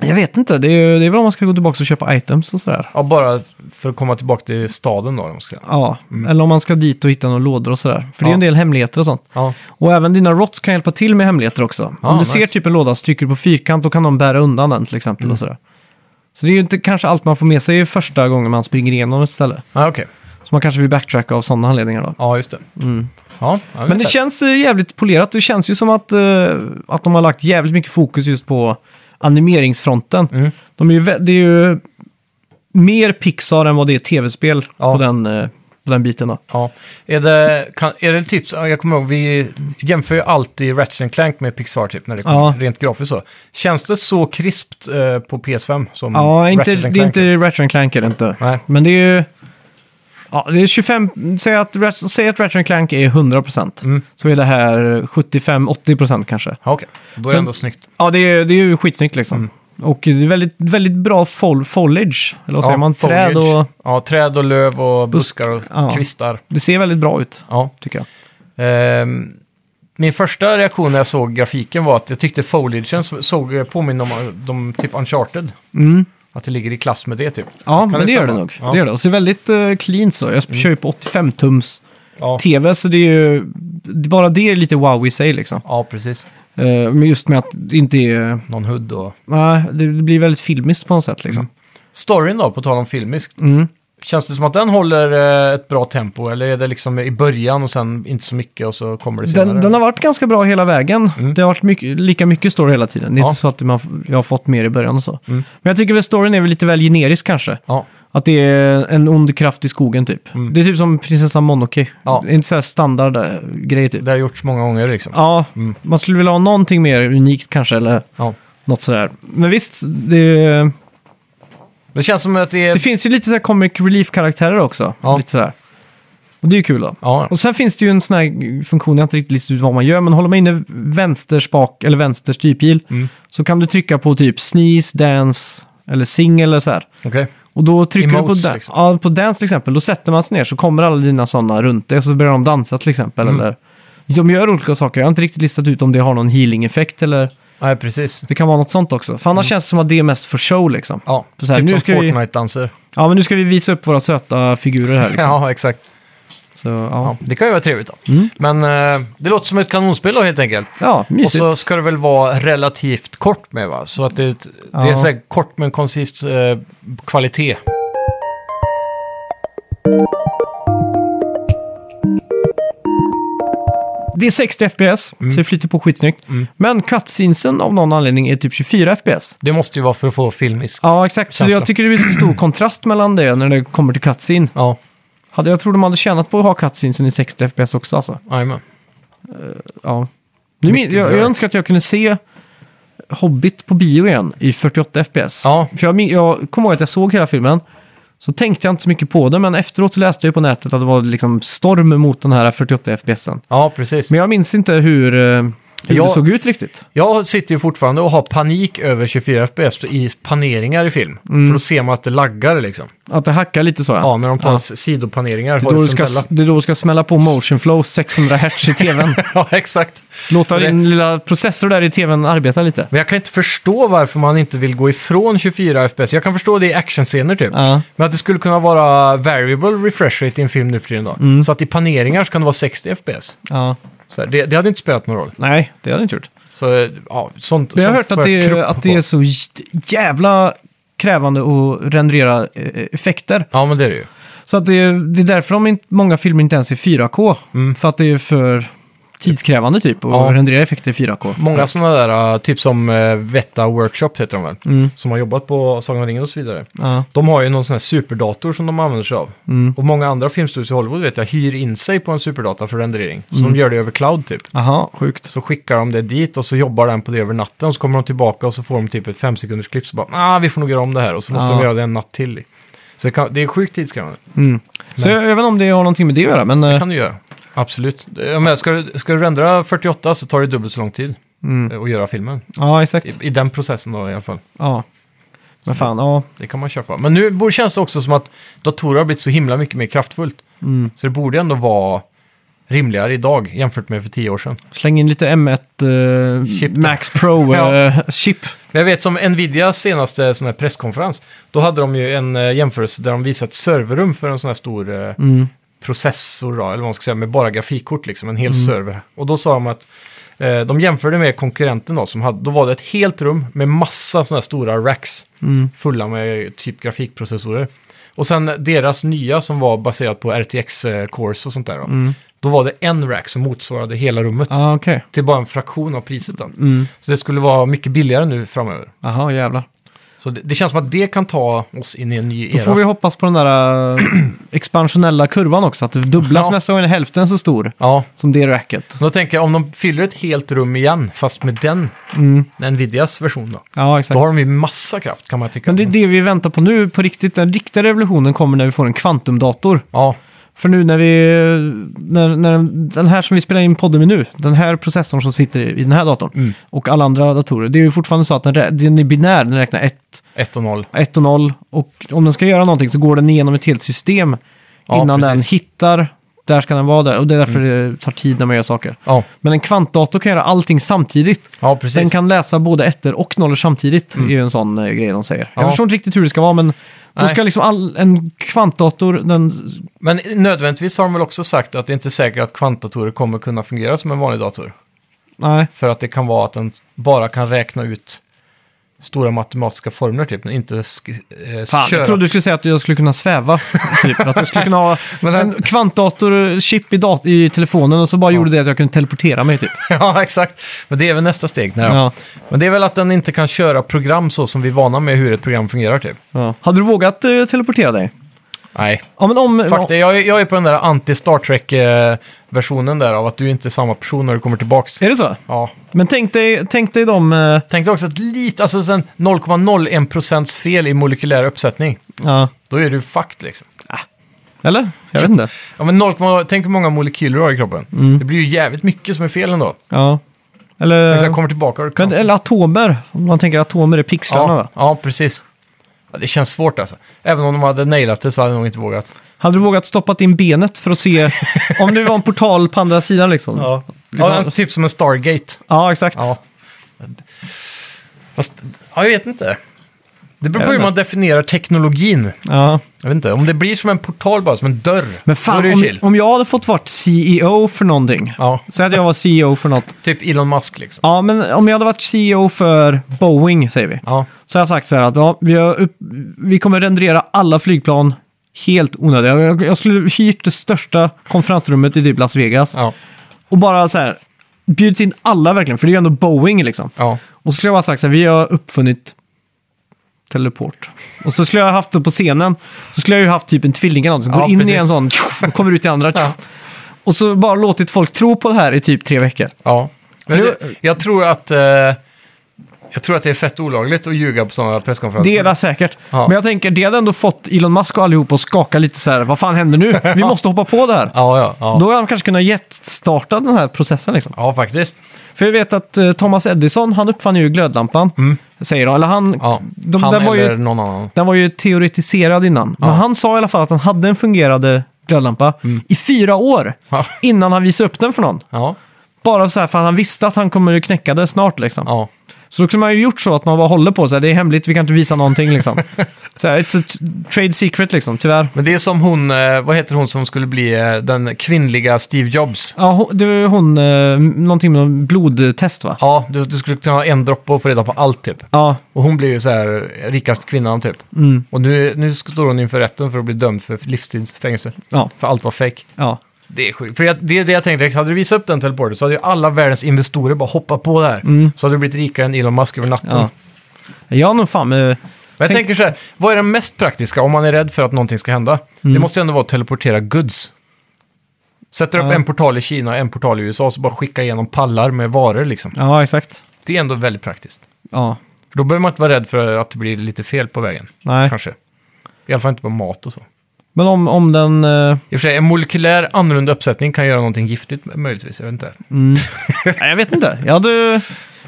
Jag vet inte, det är, det är väl om man ska gå tillbaka och köpa items och sådär. Ja, bara för att komma tillbaka till staden då, om man ska säga. Ja, eller om man ska dit och hitta några lådor och sådär. För det är ju Mm. Ja. en del hemligheter och sånt. Ja, Och även dina rots kan hjälpa till med hemligheter också. Ja, om du nice. Mm. ser typ en låda så trycker du på fyrkant, då kan de bära undan den till exempel och sådär. Så det är ju inte kanske allt man får med sig första gången man springer igenom ett ställe. ah, okej. Så man kanske vill backtracka av sådana anledningar då. Ja, just det. Ja, jag Men vet det inte. känns eh, jävligt polerat. Det känns ju som att, eh, att de har lagt jävligt mycket fokus just på animeringsfronten. Mm. De är ju, vä- det är ju mer Pixar än vad det är tv-spel Ja. på, den, eh, på den biten då. Ja, är det, kan, är det typ, så- jag kommer ihåg, vi jämför ju alltid Ratchet Clank med Pixar typ när det kommer, Ja. rent grafiskt så. Känns det så krispt eh, på PS5 som Ja, inte, Mm. Ratchet det Clank? är inte Ratchet and Clank är det inte. Nej. Men det är ju... Ja, det är 25... Säg att, Ratchet- säg att Ratchet and Clank är 100%. Mm. Så är det här 75-80% kanske. Ja, okej. Då är det Men- ändå snyggt. Ja, det är, det är ju skitsnyggt liksom. Mm. Och det är väldigt, väldigt bra fol- foliage. Eller vad säger ja, man? Träd foliage. och... Ja, träd och löv och buskar och Ja. kvistar. Det ser väldigt bra ut, Ja. tycker jag. Ehm, min första reaktion när jag såg grafiken var att jag tyckte foliagen så- såg påminna om de, typ Uncharted. Mm. Att det ligger i klass med det typ. Ja, men det det gör det stämma? nog. Ja. Mm. Det gör det. Och så är det väldigt uh, clean så. Jag kör ju på 85-tums-tv, Ja, så det är ju... Bara det är lite wow i sig liksom. ja precis. Eh, Men just med att det inte är... Någon hud och... Nej, det blir väldigt filmiskt på något sätt liksom. Mm, Storyn då, på tal om filmiskt. Mm. Känns det som att den håller eh, ett bra tempo? Eller är det liksom i början och sen inte så mycket och så kommer det senare? Den, den har varit ganska bra hela vägen. Mm. Det har varit mycket, lika mycket story hela tiden. Det är Ja. inte så att man, jag har fått mer i början och så. Mm. Men jag tycker väl storyn är väl lite väl generisk kanske. Ja, Att det är en ond kraft i skogen typ. Mm. Det är typ som prinsessan Mononoke. Ja. Det är inte så här standard eh, grej typ. det har gjorts många gånger liksom. Ja, Mm. man skulle vilja ha någonting mer unikt kanske eller Ja. något sådär. Men visst, det, Det känns som att det är... det finns ju lite så här comic relief-karaktärer också. Ja. Lite sådär. Och det är ju kul då. Ja, Och sen finns det ju en sån här funktion, jag har inte riktigt listat ut vad man gör, men håller man inne vänster spak eller vänster styrpil Mm. så kan du trycka på typ sneeze, dance eller sing eller så här. okej. Och då trycker Emotes, du på, da- liksom. ja, på dance till exempel, då sätter man sig ner så kommer alla dina sådana runt dig och så börjar de dansa till exempel. Mm. Eller, de gör olika saker, jag har inte riktigt listat ut om det har någon healing-effekt eller Nej, precis. det kan vara något sånt också. För Mm. annars känns det som att det är mest för show liksom. Ja, Så här, typ nu som ska vi- Fortnite-danser. Ja men nu ska vi visa upp våra söta figurer här liksom. Ja, exakt. Så, ja. Ja, det kan ju vara trevligt då. Mm. Men eh, det låter som ett kanonspel då helt enkelt. ja, Och mysigt. så ska det väl vara relativt kort med va? Så att det, är ett- det är Ja. så här kort men konsist eh, kvalitet. Det är 60 FPS, Mm. så det flyter på skitsnyggt. Men cutscenesen av någon anledning är typ 24 FPS. Det måste ju vara för att få filmisk. Ja, exakt. Så Känsla. jag tycker det blir så stor kontrast mellan det när det kommer till cutscene. Ja, Hade Jag tror de hade tjänat på att ha cutscenesen i 60 FPS också alltså. jajamän. Ja. Nu, min- Mycket jag, jag bra. önskar att jag kunde se Hobbit på bio igen i 48 FPS. Ja. För jag, min- jag kommer ihåg att jag såg hela filmen. Så tänkte jag inte så mycket på det, men efteråt så läste jag ju på nätet att det var liksom storm mot den här 48 FPSen. Ja, precis. Men jag minns inte hur, eh, hur Jag- det såg ut riktigt. Jag sitter ju fortfarande och har panik över 24 FPS i paneringar i film. Mm. För då ser man att det laggar liksom. Att det hackar lite så Ja, när de tar sidopaneringar Det är, då du ska, horisontella. det är då du ska smälla på motion flow 600 hertz i tvn. ja, exakt. Låta Det- din lilla processor där i tvn arbeta lite. Men jag kan inte förstå varför man inte vill gå ifrån 24 FPS. Jag kan förstå det i actionscener typ. Ja. Men att det skulle kunna vara variable refresh rate i en film nu för tiden då. Mm. Så att i paneringar så kan det vara 60 FPS. Ja. Så här, det, det hade inte spelat någon roll. Nej, det hade jag inte gjort. Så eh, ja, sånt Men jag har sånt hört får att det, är, krupp att det är på. så j- jävla krävande att rendera eh, effekter. Ja, men det är det ju. Så att det, är, det är därför de inte, många filmer inte ens är 4K. För att det är för tidskrävande typ att Ja. rendera effekter i 4K. Många sådana där, eh, typ som eh, Vetta Workshop heter de väl, som har jobbat på Sagan om ringen och så vidare. Ja. Mm. De har ju någon sån här superdator som de använder sig av. Och många andra filmstudios i Hollywood vet jag hyr in sig på en superdata för rendering. Så de gör det över cloud typ. Aha, sjukt. Så skickar de det dit och så jobbar den på det över natten. Och så kommer de tillbaka och så får de typ ett fem sekunders klipp. Så bara, ah, vi får nog göra om det här. Och så måste Ja. de göra det en natt till. Så det, kan, det är sjukt tidskrävande. Mm. Så jag, jag vet inte om det har någonting med det att göra, men... Det eh, kan du göra. Absolut. Jag menar, ska, du, ska du rendera 48 så tar det dubbelt så lång tid Mm. eh, att göra filmen. Ja, exakt. I, I den processen då i alla fall. Ja. Men fan, ja. Det kan man köpa. Men nu borde- känns det också som att datorer har blivit så himla mycket mer kraftfullt. Mm. Så det borde ändå vara rimligare idag jämfört med för tio år sedan. Släng in lite M1 eh, Chip. Max Pro Ja. eh, chip. Men jag vet som Nvidias senaste sån här presskonferens, då hade de ju en eh, jämförelse där de visade ett serverrum för en sån här stor eh, Mm. processor, då, eller vad man ska säga, med bara grafikkort, liksom, en hel server. Och då sa de att eh, de jämförde med konkurrenten då, som hade, då var det ett helt rum med massa såna här stora racks Mm. fulla med eh, typ grafikprocessorer. Och sen deras nya som var baserat på RTX-cores eh, och sånt där, då, då var det en rack som motsvarade hela rummet. Mm. Ja, ah, okej. Till bara en fraktion av priset då. Mm. Så det skulle vara mycket billigare nu framöver. Jaha, jävlar. Så det, det känns som att det kan ta oss in i en ny Då era. får vi hoppas på den där eh, expansionella kurvan också, att det dubblas Ja. nästa gång är hälften så stor Ja, som det racket. då tänker jag om de fyller ett helt rum igen, fast med den, Nvidias version då. Mm. Ja, Då exakt. har de ju massa kraft kan man tycka. Men det är det vi väntar på nu på riktigt. Den riktiga revolutionen kommer när vi får en kvantumdator. Ja, För nu när vi... När, när den här som vi spelar in podden med nu, den här processorn som sitter i den här datorn Mm. och alla andra datorer, det är ju fortfarande så att den, rä- den är binär, den räknar 1 1 och 0. 1 och 0 och om den ska göra någonting så går den igenom ett helt system Ja, innan precis. den hittar där ska den vara där. Och det är därför det tar tid när man gör saker. Ja, Men en kvantdator kan göra allting samtidigt. ja precis. Den kan läsa både ettor och nollor samtidigt, är ju en sån eh, grej de säger. Jag Ja. förstår inte riktigt hur det ska vara, men då Nej. ska liksom all, en kvantdator, den... Men nödvändigtvis har de väl också sagt att det inte är säkert att kvantdatorer kommer kunna fungera som en vanlig dator. Nej, För att det kan vara att den bara kan räkna ut stora matematiska formler typ, men inte sk- eh, fan. köra. Jag trodde du skulle säga att jag skulle kunna sväva. typ. Att jag skulle kunna ha Men den- en kvantdator-chip i, dat- i telefonen och så bara gjorde det att jag kunde teleportera mig typ. ja, exakt. Men det är väl nästa steg. När de- Ja. Men det är väl att den inte kan köra program så som vi är vana med hur ett program fungerar typ. Ja. Hade du vågat eh, teleportera dig? Nej, Ja, men om... fuck det. Jag, är- jag är på den där anti-Star Trek-versionen där av att du inte är samma person när du kommer tillbaks. Är det så? Ja. Men tänk dig, tänk dig de... eh, Tänk dig också att lite, alltså sen 0,01% fel i molekylär uppsättning. Ja, Då är du fucked liksom. eller? Jag vet inte. Ja, men 0, tänk hur många molekyler du har i kroppen. Mm. Det blir ju jävligt mycket som är fel ändå. Ja. Tänk så Eller, jag kommer tillbaka och men, eller atomer. Om man tänker atomer är pixlarna. ja, va? ja, precis. Ja, det känns svårt alltså. Även om de hade nailat det så hade de nog inte vågat. Hade du vågat stoppat in benet för att se om det var en portal på andra sidan liksom? Ja, Liksom- en- typ som en Stargate. Ja, exakt. Ja. Fast, ja, jag vet inte. Det beror Jag på vet hur man definierar teknologin. Ja. Jag vet inte, om det blir som en portal bara, som en dörr. Men då är fan, det ju om, chill. om jag hade fått vara CEO för någonting. Ja, Säg att jag var CEO för något. typ Elon Musk liksom. Ja, men om jag hade varit CEO för Boeing, säger vi. Ja, Så har jag sagt så här att ja, vi, har upp, vi kommer rendera alla flygplan helt onödiga. Jag, jag skulle hyrt det största konferensrummet i typ Las Vegas. ja, Och bara så här, bjudit in alla verkligen, för det är ju ändå Boeing liksom. ja. Och så skulle jag bara sagt så här, vi har uppfunnit teleport. Och så skulle jag haft det på scenen, så skulle jag ju haft typ en tvilling eller något som Ja, går in i precis. en sån och kommer ut i andra. Och så bara låtit folk tro på det här i typ tre veckor. ja. Men För- det, jag tror att... Eh, jag tror att det är fett olagligt att ljuga på sådana presskonferenser. Det är det säkert. Ja. Men jag tänker, det hade ändå fått Elon Musk och allihop att skaka lite så här, vad fan händer nu? Vi måste hoppa på det här. Ja, ja, ja. Då hade de kanske kunnat jetstarta den här processen liksom. Ja, faktiskt. För jag vet att eh, Thomas Edison, han uppfann ju glödlampan, säger de. Eller han, Mm. Ja. de, han den, var eller ju, någon annan. den var ju teoretiserad innan. Men han sa i alla fall att han hade en fungerande glödlampa i fyra år Mm. Ja. innan han visade upp den för någon. Ja, Bara så här för att han visste att han kommer att knäcka det snart liksom. ja. Så då kunde man ju gjort så att man bara håller på så här, det är hemligt, vi kan inte visa någonting liksom. så här, it's a t- trade secret liksom, tyvärr. Men det är som hon, eh, vad heter hon som skulle bli eh, den kvinnliga Steve Jobs? Ja, hon, det var ju hon, eh, någonting med någon blodtest va? Ja, du, du skulle kunna ha en droppe och få reda på allt typ. Ja, Och hon blev ju så här eh, rikast kvinnan typ. Mm. Och nu, nu står hon inför rätten för att bli dömd för livstidsfängelse. ja, För allt var fake. ja. Det är sjukt. För jag, det är det jag tänkte, direkt. hade du visat upp den teleporten så hade ju alla världens investorer bara hoppat på där. Så hade du blivit rikare än Elon Musk över natten. Mm. ja. Jag har nog fan med... Men jag Tänk- tänker så här, vad är det mest praktiska om man är rädd för att någonting ska hända? Mm. Det måste ju ändå vara att teleportera goods. Sätter upp Ja. en portal i Kina och en portal i USA så bara skicka igenom pallar med varor liksom. Ja, exakt. Det är ändå väldigt praktiskt. Ja, För Då behöver man inte vara rädd för att det blir lite fel på vägen. nej. Kanske. I alla fall inte på mat och så. Men om, om den... eh, I och för sig, en molekylär annorlunda uppsättning kan göra någonting giftigt möjligtvis. Jag vet inte. mm. nej, jag vet inte. Jag hade,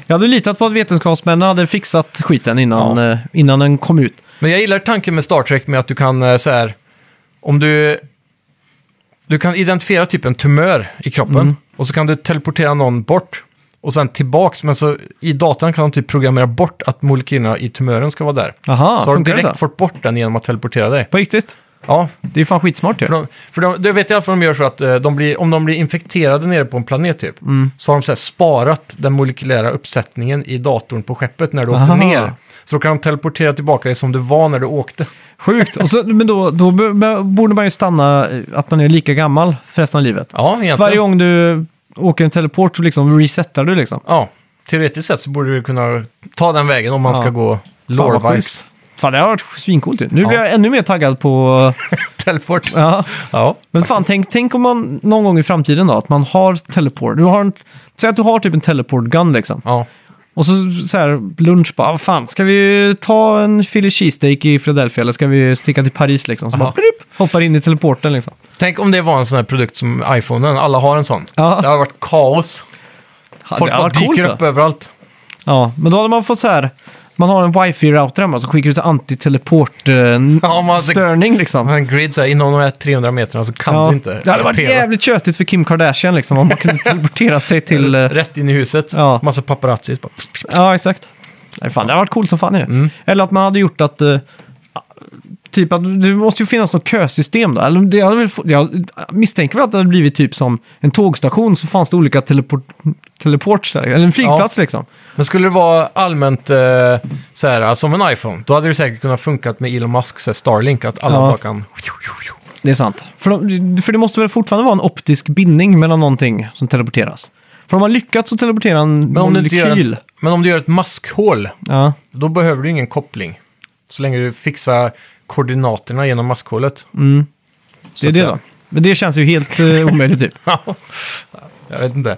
jag hade litat på att vetenskapsmännen hade fixat skiten innan, eh, innan den kom ut. Men jag gillar tanken med Star Trek med att du kan eh, så här, om du, du kan identifiera typ en tumör i kroppen Mm. och så kan du teleportera någon bort och sen tillbaks, men så i datan kan de typ programmera bort att molekylerna i tumören ska vara där. Jaha, så har de Ah, funkar det direkt så? fått bort den genom att teleportera dig. På riktigt? Ja, Det är ju fan skitsmart ju. för de, för de, det vet jag att de gör så att eh, de blir, om de blir infekterade nere på en planet typ, Mm. så har de så här sparat den molekylära uppsättningen i datorn på skeppet när du åkte Aha. ner. Så då kan de teleportera tillbaka dig som du var när du åkte. Sjukt. Och så, men då, då b- b- borde man ju stanna eh, att man är lika gammal för resten av livet. Ja, egentligen. Varje gång du åker en teleport så liksom resetar du liksom. Ja, teoretiskt sett så borde du kunna ta den vägen om man Ja. ska gå vad lore-wise. Fan, det har varit svincoolt ju. Nu Ja. blir jag ännu mer taggad på... Teleport. Ja. Ja. Men fan, tänk, tänk om man någon gång i framtiden då, att man har teleport. Du har en, säg att du har typ en teleport gun liksom. Ja. Och så, så här, lunch bara, "Ah, fan, ska vi ta en Philly cheesesteak i Philadelphia eller ska vi sticka till Paris liksom? Så Ja. bara, prup, hoppar in i teleporten liksom. Tänk om det var en sån här produkt som iPhonen, alla har en sån. Ja. Det har varit kaos. Ha, Folk det hade bara varit coolt dyker då. upp överallt. Ja, men då hade man fått så här, man har en wifi-router hemma som skickar ut anti-teleport-störning Ja, man- eh, liksom. Om en grid så här, inom de här 300 metrarna så kan Ja, du inte. det hade varit Pela. jävligt tjötigt för Kim Kardashian liksom, om man kunde teleportera sig till... eh, Rätt in i huset. Ja. Massa paparazzis. Bara. Ja, exakt. Nej, fan, det hade varit coolt som fan ju. Mm. Eller att man hade gjort att... eh, typ att det måste ju finnas något kösystem då. Eller det hade väl, få- jag misstänker väl att det hade blivit typ som en tågstation så fanns det olika teleport, teleports där. Eller en flygplats liksom. Men skulle det vara allmänt eh, så här, som en iPhone, då hade det säkert kunnat funkat med Elon Musks så här, Starlink, att alla Ja. bara kan... Det är sant. För, de, för det måste väl fortfarande vara en optisk bindning mellan någonting som teleporteras. För om man lyckats så teleportera en Men om, du inte gör molekyl. ett, men om du gör ett maskhål, Ja, då behöver du ingen koppling. Så länge du fixar koordinaterna genom maskhålet. det är att det säga. då. Men det känns ju helt eh, omöjligt typ. Jag vet inte.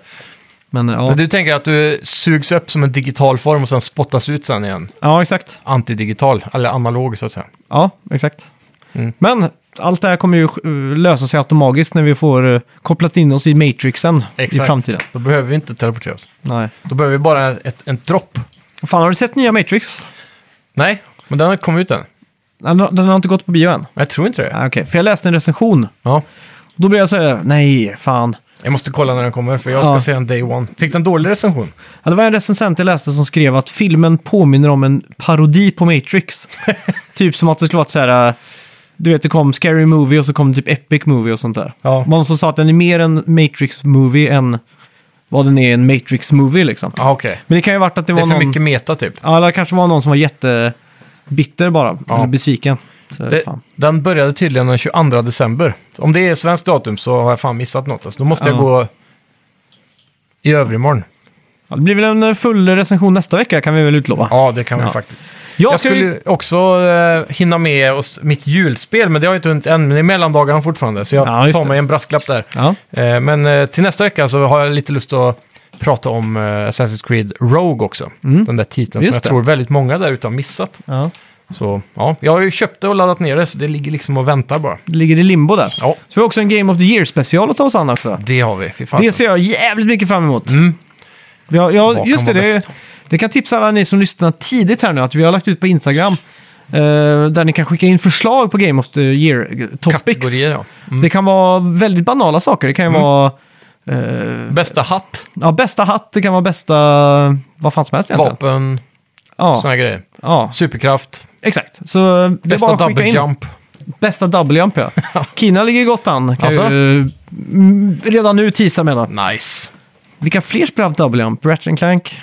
Men, eh, ja. Men du tänker att du sugs upp som en digital form och sen spottas ut sen igen. ja, exakt. Antidigital, eller analog så att säga. Ja, exakt. Mm. Men allt det här kommer ju eh, lösa sig automatiskt när vi får eh, kopplat in oss i Matrixen i Exakt. framtiden. Då behöver vi inte teleportera oss. Nej. Då behöver vi bara ett, en dropp. Fan, har du sett nya Matrix? Nej, men den har inte kommit ut än. Den, den har inte gått på bio än. Jag tror inte det. Ah, Okej, för jag läste en recension. Ja. Då blev jag så här, nej, fan. Jag måste kolla när den kommer, för jag ska Ja. se den day one. Fick den dålig recension? Ja, det var en recensent jag läste som skrev att filmen påminner om en parodi på Matrix. typ som att det skulle varit så här, eh, du vet det kom Scary Movie och så kom typ Epic Movie och sånt där. Ja. Någon som sa att den är mer en Matrix-movie än vad den är en Matrix-movie liksom. Ja, okej. Men det kan ju ha varit att det Det var är för någon... mycket meta typ. Ja, eller det kanske var någon som var jättebitter bara. Ja. Eller besviken. Så, Det, fan. den började tydligen den 22 december. Om det är svenskt datum så har jag fan missat något. Alltså, då måste jag Ja. gå i övermorgon. Ja, det blir väl en eh, full recension nästa vecka kan vi väl utlova. Ja, det kan vi Ja. faktiskt. jag, Jag ska ju- skulle ju också eh, hinna med oss, mitt julspel, men det har jag inte hunnit än. Men det är mellandagarna fortfarande, så jag Ja, just tar det. mig en brasklapp där. Ja. Eh, men eh, till nästa vecka så har jag lite lust att prata om eh, Assassin's Creed Rogue också. Den där titeln Mm. Just som jag det. tror väldigt många där ute har missat. Ja. Så ja, jag har ju köpt det och laddat ner det, så det ligger liksom och väntar bara. Det ligger i limbo där. Ja, Så vi har också en Game of the Year-special att ta oss an också. det har vi. Fy fan. Det ser jag jävligt mycket fram emot. Alltså. Mm. Vi har, ja, Vad just det, kan vara det, bäst? det kan tipsa alla ni som lyssnar tidigt här nu att vi har lagt ut på Instagram eh, där ni kan skicka in förslag på Game of the Year-topics. Kategorier, ja. Mm. Det kan vara väldigt banala saker. Det kan ju vara... eh, Bästa hatt, Ja, bästa hatt, det kan vara bästa... Vad fan som helst egentligen. vapen, Ja, såna grejer. ja, Superkraft, exakt. Så eh, det är bästa bara att skicka double in. jump. Bästa double jump, ja. Kina ligger gott an. Kan Alltså? ju, mm, redan nu tisa menar Nice. Vilka fler spelar haft double jump? Ratchet and Clank?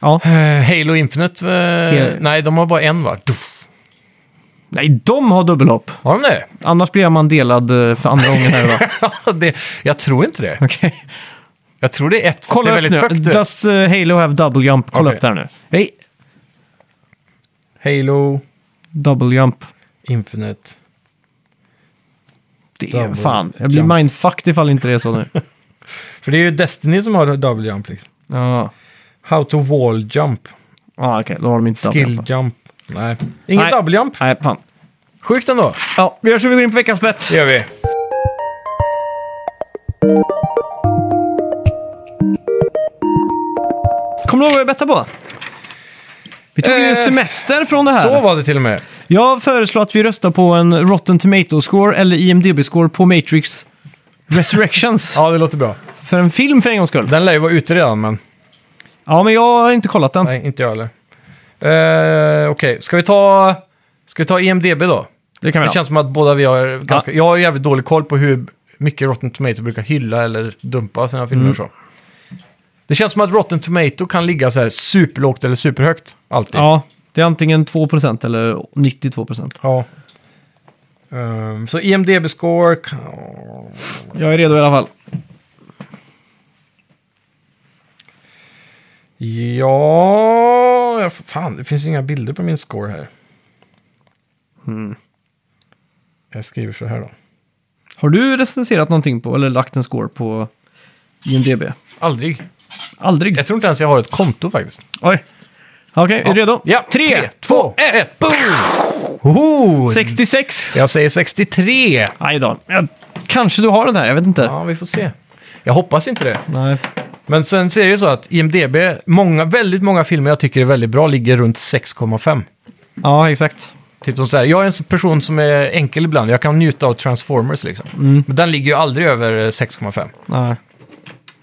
Ja. Eh, Halo Infinite, eh, Hel- nej de har bara en va? Duff. Nej, de har dubbelhopp. Har de det? Annars blir man delad eh, för andra gången här idag. det? Jag tror inte det. Okej. Jag tror det är ett, Kolla det är upp väldigt nu. högt. du vet. Does eh, Halo have double jump? Kolla Okej. upp där nu. Hej! Halo Double jump. Infinite. Det är Double fan. Jag blir jump. mindfucked ifall inte det är så nu. För det är ju Destiny som har double jump liksom. Ja, How to wall jump, ah, okej. Då har de inte double skill jump. jump. Nej, ingen Nej. double jump. Nej, fan. Sjukt ändå. Ja, vi gör så vi går in på veckans bett. Det gör vi. Kommer du ihåg vad jag bettade på? Vi tog ju Eh, semester från det Så här. var det till och med. Jag föreslår att vi röstar på en Rotten Tomato-score eller IMDB-score på Matrix Resurrections. Ja, det låter bra. För en film för en gångs skull. Den lär ju vara ute redan, men Ja, men jag har inte kollat den. nej, inte jag heller. Eh, Okej, ska vi ta... Ska vi ta E IMDB då? det kan vi Det ha. känns som att båda vi har ganska... Jag har jävligt dålig koll på hur mycket Rotten Tomato brukar hylla eller dumpa sina filmer och så. Det känns som att Rotten Tomato kan ligga så här superlågt eller superhögt. Alltid. Ja, det är antingen 2% eller 92%. Ja. Ehm, så IMDB-score... Jag är redo i alla fall. Ja... jag- Fan, det finns ju inga bilder på min score här. Jag skriver så här då. Har du recenserat någonting på, eller lagt en score på IMDB? Aldrig. Aldrig? Jag tror inte ens jag har ett konto faktiskt. Oj. Okej, är du redo? Ja, Tre, två, ett, boom! Oh, 66. Jag säger 63. Aj då. Jag, kanske du har den här, jag vet inte. Ja, vi får se. Jag hoppas inte det. Nej. Men sen ser det ju så att IMDB, många, väldigt många filmer jag tycker är väldigt bra ligger runt 6,5. Ja, exakt. Typ som så här, jag är en person som är enkel ibland, jag kan njuta av Transformers liksom. Mm. Men den ligger ju aldrig över eh, 6,5. Nej.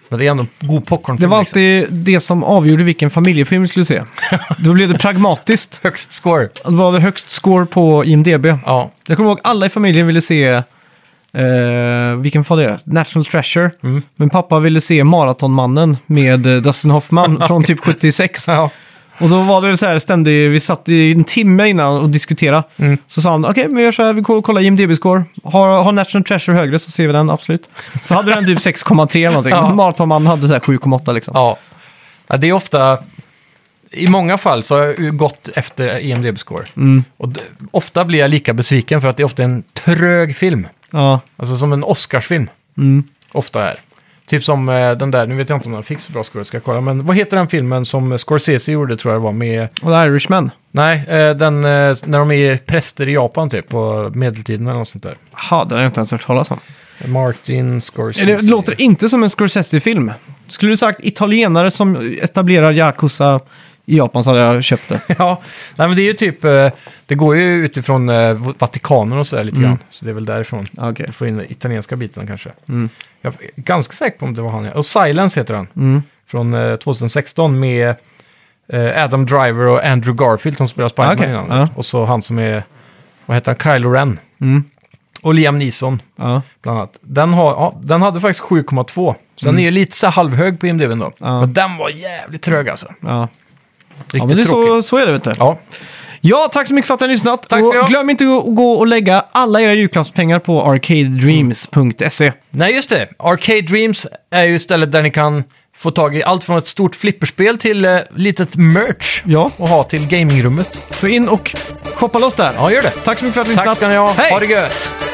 Men det är ändå god liksom. popcorn. Det var alltid det som avgjorde vilken familjefilm vi skulle se. Då blev det pragmatiskt. högst score. Det var det högst score på IMDB. Ja, Jag kommer ihåg alla i familjen ville se, eh, vilken var det? National Treasure. Men pappa ville se Maratonmannen med eh, Dustin Hoffman från typ 76. ja. Och då var det så här ständigt, vi satt i en timme innan och diskuterade. Så sa han, okej, men vi gör så här, vi går och kollar IMDB-score. Har, har National Treasure högre så ser vi den, absolut. Så hade den typ 6,3 eller någonting. Ja. Maratonmannen hade så här 7,8 liksom. ja. ja. Det är ofta... I många fall så har jag ju gått efter IMDB-score. Mm. Och d- ofta blir jag lika besviken för att det är ofta en trög film. Ja. Alltså som en Oscarsfilm. Mm. Ofta är. Typ som eh, den där, nu vet jag inte om den fick så bra score, ska jag kolla. Men vad heter den filmen som Scorsese gjorde tror jag det var med... Och The Irishman. Nej, eh, den, eh, när de är präster i Japan typ, på medeltiden eller något sånt där. Jaha, den har jag inte ens hört talas om. Martin Scorsese. Det låter inte som en Scorsese-film. Skulle du sagt italienare som etablerar Yakuza i Japan så hade jag köpt det. Ja, nej men det är ju typ, eh, det går ju utifrån eh, Vatikanen och sådär lite Mm. grann. Så det är väl därifrån. Ja, Okej. Du får in den italienska biten kanske. Mm. Jag är ganska säker på om det var han. ja. Och Silence heter han. Mm, Från eh, 2016 med eh, Adam Driver och Andrew Garfield som spelar Spiderman Ah, Okej, innan. ja. Och så han som är, vad heter han, Kylo Ren. Mm. Och Liam Neeson Ja. bland annat. Den, har, ja, den hade faktiskt 7,2. Så den är ju lite så här halvhög på IMDb då. Mm. Ja. Men den var jävligt trög alltså. Ja. Riktigt ja, men det är tråkig. så, så är det vet du. Ja, Ja, tack så mycket för att ni har lyssnat. Tack ska ni och ha. glöm inte att gå och lägga alla era julklappspengar på arcadedreams.se. Nej, just det. Arcade Dreams är ju stället där ni kan få tag i allt från ett stort flipperspel till eh, litet merch Ja, och ha till gamingrummet. så in och shoppa loss där. Ja, gör det. Tack så mycket för att ni har Tack lyssnat. ska ni ha. Hej! Ha det gött.